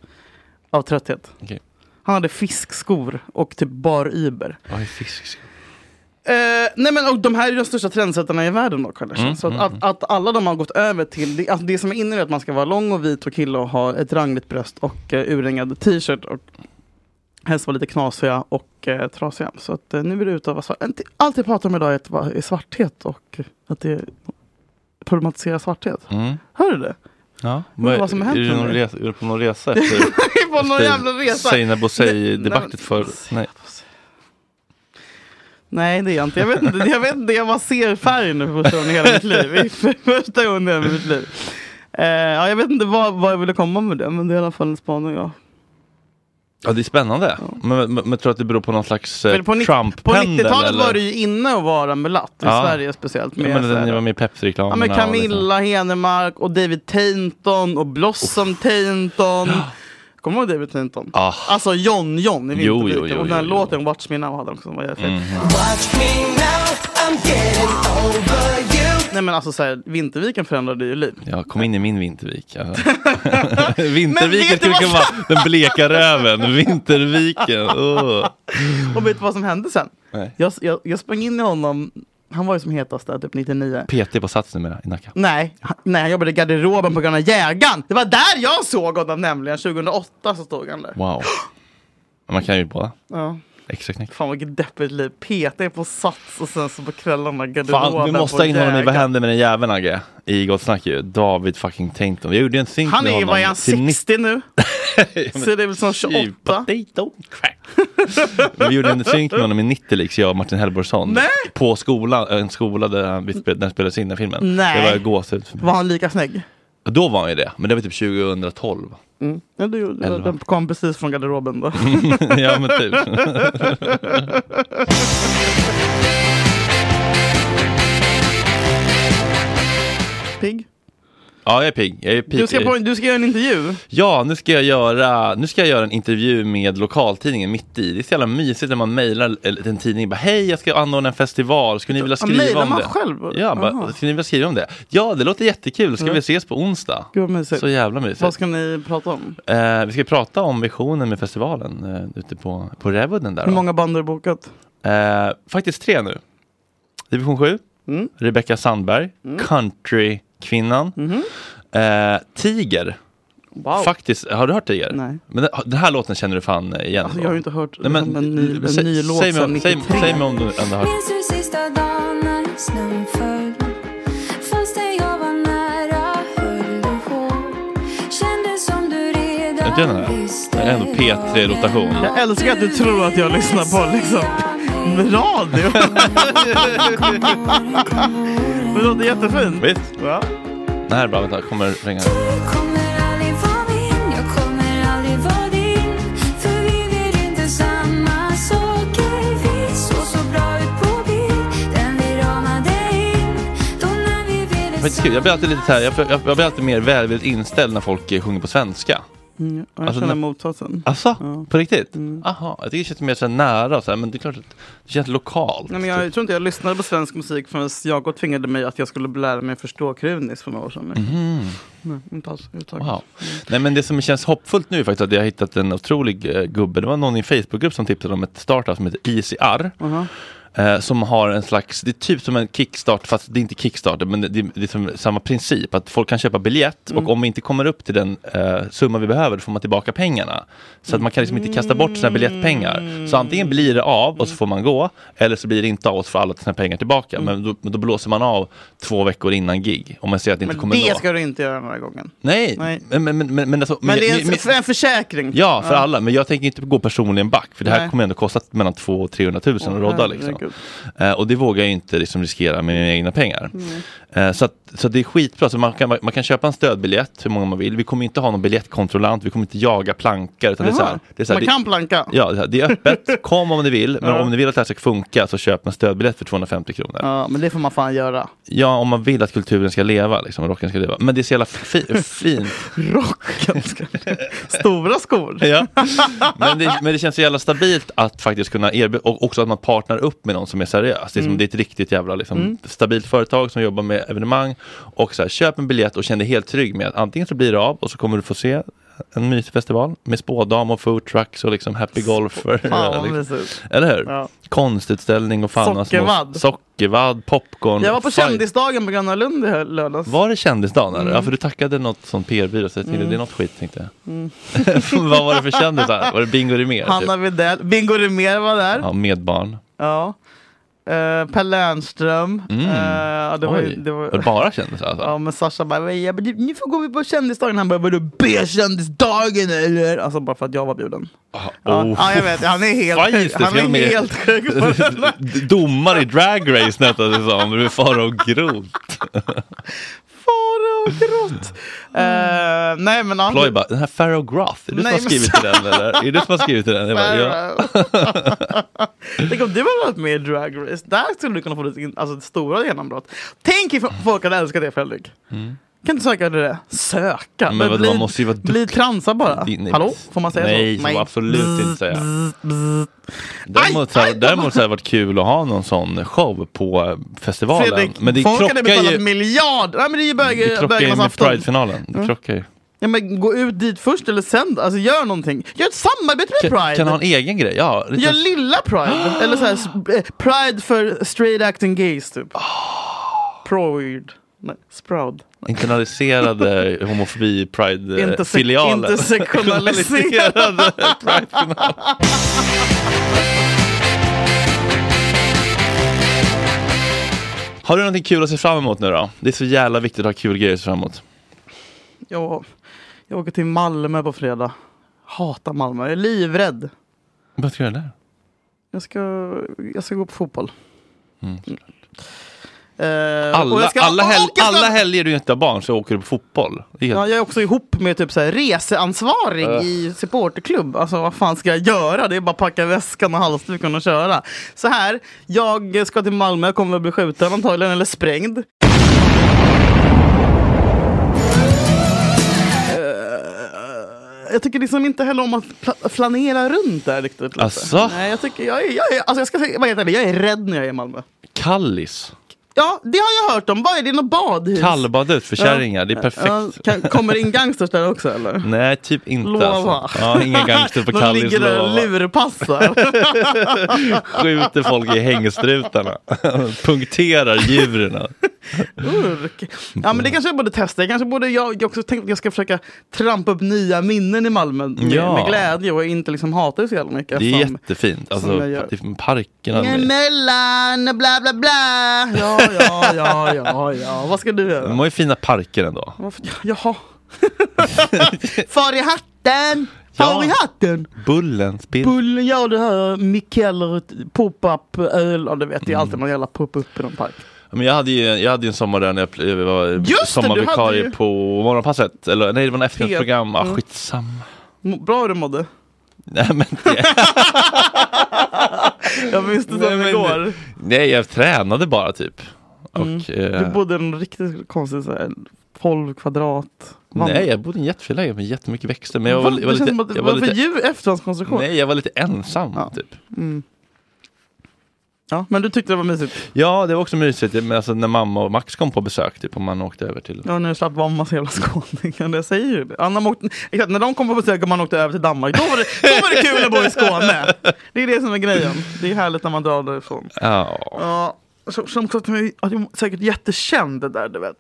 av trötthet.
Okej.
Han hade fiskskor och typ bar Uber.
Vad är fisk?
Eh, nej men, och de här är ju de största trendsättarna i världen då, Kardashian.
Mm,
Så att,
mm,
att, att alla de har gått över till, det, alltså det som är inne är eh, att man ska vara lång och vit och kille och ha ett rangligt bröst och uh, urringad t-shirt och helst vara lite knasiga och eh, trasiga. Så att, eh, nu vill jag utöva svart. Allt jag pratar om idag är, att, vara- är svarthet och att det problematiserar svarthet.
Mm.
Hör du det?
Ja.
Undrar vad som har hänt
är, du
med
någon
mig.
resa, är du på någon
[laughs]
resa efter,
på någon jävla resa.
Seinab
Nej, men-
Bouzei-debaclet för... Nej.
Nej det är jag inte. Jag vet inte, jag, vet inte. jag bara ser färg nu för första gången i hela mitt liv. Det är för- första gången i hela mitt liv. Eh, ja, jag vet inte vad, vad jag ville komma med det, men det är i alla fall en spaning. Ja.
Ja, det är spännande. Men, men, men tror du att det beror på någon slags
För
eh,
på nitt- På
Trump-pendel?
90-talet var
eller?
det ju inne att vara mulatt, i
Ja.
Sverige speciellt. Med
ja, men
så
den,
här-
ni var med i liksom.
Ja,
Pepsi-reklamerna.
men Camilla Henemark och David Tainton och Blossom Tainton. Kommer du ihåg David Tainton?
Ah.
Alltså John John i
Jo, jo,
Vinterbyte.
jo,
Och den här
jo, Mhm.
låten Watch Me Now hade han också. som Var jävligt fet.
Watch me now, I'm getting over you.
Nej men alltså så här, Vinterviken förändrade ju liv.
Ja, kom in i min Vintervik.
[laughs]
Ja.
Men vet du
Vinterviken skulle
vad-
kunna vara den bleka röven. Vinterviken. åh.
Och vet du vad som hände sen?
Nej.
Jag, jag, jag sprang in i honom, han var ju som hetast där typ 99.
PT på Sats numera i Nacka.
Nej, han, nej, han jobbade i garderoben på Gröna Jägaren. Det var där jag såg honom nämligen, 2008 så stod han där.
Wow. Man kan ju båda.
Ja.
Extra knäck.
Fan vilket deppigt liv. PT på Sats och sen så på kvällarna garderoben
Fan, vi måste
på
ha in honom i
Jägaren.
Vad händer med den jäveln Agge? I Gott Snack ju. David fucking Tainton. Jag gjorde en synk
Han
med
är ju,
honom.
vad är han,
till
60
[laughs]
nu?
men-
Så det är väl som 28?
Men Vi gjorde en synk med honom i 90 liksom, jag och Martin Hellborgsson.
Nej!
På skolan, en skola där han, vi spel- där spelades in den filmen.
Nej.
Det var gåshud för mig.
Var han lika snygg?
Då var han ju det, men det var typ 2012.
Mm. Ja, du, du,
Elva. Mm.
den kom precis från garderoben
[laughs]
då.
Ja, men typ.
[laughs] Pigg?
Ja, jag är pigg. Jag är pigg.
Du ska, på, du ska göra en intervju.
Ja, nu ska, jag göra, nu ska jag göra en intervju med lokaltidningen mitt i. Det är så jävla mysigt när man mejlar en en tidning. Bara, Hej, jag ska anordna en festival. Skulle ni vilja
Ja,
skriva
mejlar
om
man
det?
själv?
Ja,
Aha.
bara, skulle ni vilja skriva om det? Ja, det låter jättekul. Ska
Mm.
vi ses på onsdag?
Gud vad mysigt.
Så jävla mysigt.
Vad ska ni prata om?
Eh, vi ska prata om visionen med festivalen eh, ute på, på Rävudden där.
Hur
då.
många band har du bokat?
Eh, faktiskt tre nu. Division 7,
Mm.
Rebecca Sandberg, countrykvinnan.
Mhm.
Eh, tiger.
Wow.
Faktiskt, har du hört Tiger?
Nej.
Men den, den här låten känner du fan igen?
Alltså,
då?
jag har ju inte hört
Nej, men,
liksom en ny- en
sä-
ny låt
säg mig om-
sedan
säg,
93.
säg mig om du ändå har hört
Minns du sista dagen när snön föll? Fastän jag var nära höll du hårt. Kändes som du
Är inte den
redan
här?
visste
Det är ändå
[laughs]
P3-rotation.
Jag älskar att du tror att jag lyssnar på liksom radio. [laughs] det låter jättefint.
Visst?
Ja.
Den här är bra, vänta, kommer ringa.
aldrig vara min, jag kommer aldrig vara din. För vi vill inte samma saker. Vi såg så bra ut på bild, den vi ramade in. Då när vi ville
Faktiskt kul, jag blir alltid lite så här, jag, jag, jag blir alltid mer välvilligt inställd när folk eh, sjunger på svenska.
Mm, jag
Alltså,
känner
när-
motsatsen.
Alltså, på riktigt?
Mm.
Aha, jag tycker det känns mer så här nära, så här, men det är klart att det känns lokalt.
Nej, men jag tror inte jag lyssnade på svensk musik förrän Jakob tvingade mig att jag skulle lära mig förstå Krunis för några år sedan. liksom.
Mhm.
Nej, inte alls. överhuvudtaget.
Wow. Nej men det som känns hoppfullt nu är faktiskt att jag har hittat en otrolig eh, gubbe. Det var någon i en Facebookgrupp som tipsade om ett startup som heter ICR.
Aha.
Eh, som har en slags, det är typ som en kickstart fast det är inte kickstarter men det, det, det är som samma princip. Att folk kan köpa biljett
Mm.
och om vi inte kommer upp till den eh, summa vi behöver får man tillbaka pengarna. Så att man kan liksom inte kasta bort sina biljettpengar. Så antingen blir det av och så får man gå eller så blir det inte av och så får alla sina pengar tillbaka.
Mm.
Men då, men då blåser man av två veckor innan gig om man ser att det inte
Men
kommer
det
nå.
ska du inte göra den här gången.
Nej,
Nej.
men, men, men, men, men, alltså,
Men det är en,
men- men-
för en försäkring.
Ja, för alla. Men jag tänker inte gå personligen back. För det här
Nej.
kommer ändå kosta mellan 200 och 300 000 att
Åh,
rodda. Liksom.
herregud. Mm.
Eh, och det vågar jag ju inte liksom, riskera med mina egna pengar. Eh, så, att, så det är skitbra. Så man, kan, man kan köpa en stödbiljett hur många man vill. Vi kommer inte ha någon biljettkontrollant. Vi kommer inte jaga plankar. Utan det är så här,
Jaha.
det är så här,
Man
det-
kan planka.
Ja, det är- det är
[laughs]
öppet. Kom om ni vill. Men
Ja.
om ni vill att det här ska funka så köp en stödbiljett för 250 kronor.
Ja, men det får man fan göra.
Ja, om man vill att kulturen ska leva, liksom, och rocken ska leva. Men det är så jävla fi- [laughs] fint. [laughs]
rocken ska Stora skor.
Ja. [laughs] Men, det, men det känns så jävla stabilt att faktiskt kunna erbjuda och också att man partner upp med någon som är seriös. Det är, som,
Mm.
det är ett riktigt jävla liksom,
Mm.
stabilt företag som jobbar med evenemang och så här, köp en biljett och känn dig helt trygg med att antingen så blir det av och så kommer du få se en mysig festival med spådam och food trucks och liksom happy golfer.
Fan, vad
liksom.
mysigt.
Eller hur?
Ja.
Konstutställning och fan och små-
Sockervadd.
Sock sockervadd, popcorn.
Jag var på
fight.
kändisdagen på Gröna Lund i hö- lördags.
Var det kändisdagen? eller?
Mm.
Ja, för du tackade något sån PR-byrå, så jag tänkte
Mm.
det är något skit. Tänkte
Mm.
jag. [laughs] Vad var det för kändisar? Var det Bingo Rimér?
Hanna
Typ?
Widell, Bingo Rimér var där.
Ja, med barn.
Ja. Eh, per Lernström.
Mm.
Eh, ja, det var, ju-
Oj.
det var,
Var det bara kändisar alltså?
Ja, men Sasha bara, "Ja, men nu får går vi på kändisdagen. Han bara, vadå B-kändisdagen eller? Alltså bara för att jag var bjuden. Ja,
[laughs] Oh.
ja, jag vet, han är helt
Ja, just det,
han
till och
är
med.
helt sjuk. på den här.
Domare i Drag Race nästan det som. Du är fara och
[laughs]
grot.
Faro Groth. Eh, nej men han...
Mm. Ploy bara, den här Pharaoh Groth, är du som
Nej,
har
men
skrivit
så-
till den eller? Är du som har skrivit till den? Jag bara, ja.
[laughs] Tänk om du hade varit med i Drag Race. Där skulle du kunna få ditt in- alltså, ditt stora genombrott. Tänk ifall folk hade älskat dig Fredrik.
Mm.
Kan inte söka till det? Söka?
Men vadå, man måste ju vara
Bli transa bara.
Din- nej,
Hallå? Får man säga
nej,
så?
Nej, absolut inte säga.
bzz.
Däremot, så här, däremot så har det varit kul att ha någon sån show på eh, festivalen.
Fredrik,
men det
folk hade
krockar
betalat
ju,
miljarder. Nej, men det är ju
det
bög-
krockar ju med
bögmansafton.
Pride-finalen. Det
Mm.
krockar ju.
Ja, men gå ut dit först eller sen. Alltså gör någonting. Gör ett samarbete med
Kan,
Pride.
kan ha en egen grej? Ja, lite-
Gör lilla
[gasps]
Pride. eller så här, s- eh, Pride för straight acting
[gasps]
gays typ. Proid. Nej, sproud. [laughs]
internaliserade homofobi
Interse-
Pride-filialer. [laughs]
Intersektionaliserade
Pride-finaler. Har du någonting kul att se fram emot nu då? Det är så jävla viktigt att ha kul grejer att se fram emot.
Jag, jag åker till Malmö på fredag. Hatar Malmö. Jag är livrädd.
Vad ska du göra där?
Jag ska, jag ska gå på fotboll.
Mm.
Eh, och
Alla,
jag ska-
alla,
och- och
hel-
jag ska-
alla helger du inte har barn så åker du på fotboll. Det är helt-
Ja, jag är också ihop med typ så här reseansvarig
Äh.
i supporterklubb. Alltså vad fan ska jag göra? Det är bara att packa väskan och halsduken och köra. Så här, jag ska till Malmö, kommer väl bli skjuten antagligen, eller sprängd. Eh, Jag tycker liksom inte heller om att pla- flanera runt där riktigt. lite.
Asså?
Nej, jag, tycker, jag, är, jag, är, alltså jag ska säga, vad heter det? Jag är rädd när jag är i Malmö.
Kallis.
Ja, det har jag hört om. Vad är det? Något badhus?
Kallbadet för kärringar, det är
Ja,
perfekt.
ja, kan, kommer det in gangsters där också eller?
Nej, typ inte.
Lova.
Alltså. Ja,
[laughs]
inga gangster på
De
Kallis.
ligger där och
lova.
lurpassar.
[laughs] Skjuter folk i hängstrutarna. [laughs] Punkterar djuren.
Urk. Ja men det kanske jag borde testa. Jag kanske borde, jag, jag också tänkte att jag ska försöka trampa upp nya minnen i Malmö med,
Ja.
med glädje och inte liksom hata det så jävla mycket.
Det är
som-
jättefint. Alltså,
som jag gör.
typ parkerna. med-
Emellan, bla bla bla. Ja, ja, ja, ja, ja. Vad ska du göra?
De har ju fina parker ändå.
Varför- Jaha. [laughs] Far i hatten! Far
Ja.
i hatten!
Bullen, spill.
Bullen gör det här Mikeller pop-up öl. Ja, du vet, det är alltid någon jävla pop-up i någon park.
Men jag hade ju, jag hade ju en sommar där när jag pl- jag var
du hade
sommarvikarie
ju-
på morgonpasset. Eller nej, det var en eftermiddagsprogram. Ah,
Mm.
skitsamma.
Må- Bra hur du mådde.
Nej men,
Jag minns det som igår.
nej, jag tränade bara typ. Och,
Mm. Du
eh,
bodde i en riktigt konstig så här, 12 kvadrat.
nej, jag bodde i en jättefin lägenhet med jättemycket växter. Men jag var,
Va?
jag var
det
lite,
känns som att det
jag var
var för
lite
djur efterhandskonstruktion.
Nej, jag var lite ensam typ.
Mm. Ja, men du tyckte det var mysigt?
Ja, det var också mysigt. Men alltså, när mamma och Max kom på besök, typ, och man åkte över till...
Ja, när du slapp vara en massa jävla skåningar. Jag säger ju det. Anna åkte, exakt, när de kom på besök och man åkte över till Danmark, då var, det, då var det kul att bo i Skåne. Det är det som är grejen. Det är härligt när man drar därifrån.
Ja.
Ja, som, som sagt, jag är säkert jättekänd det där, du vet.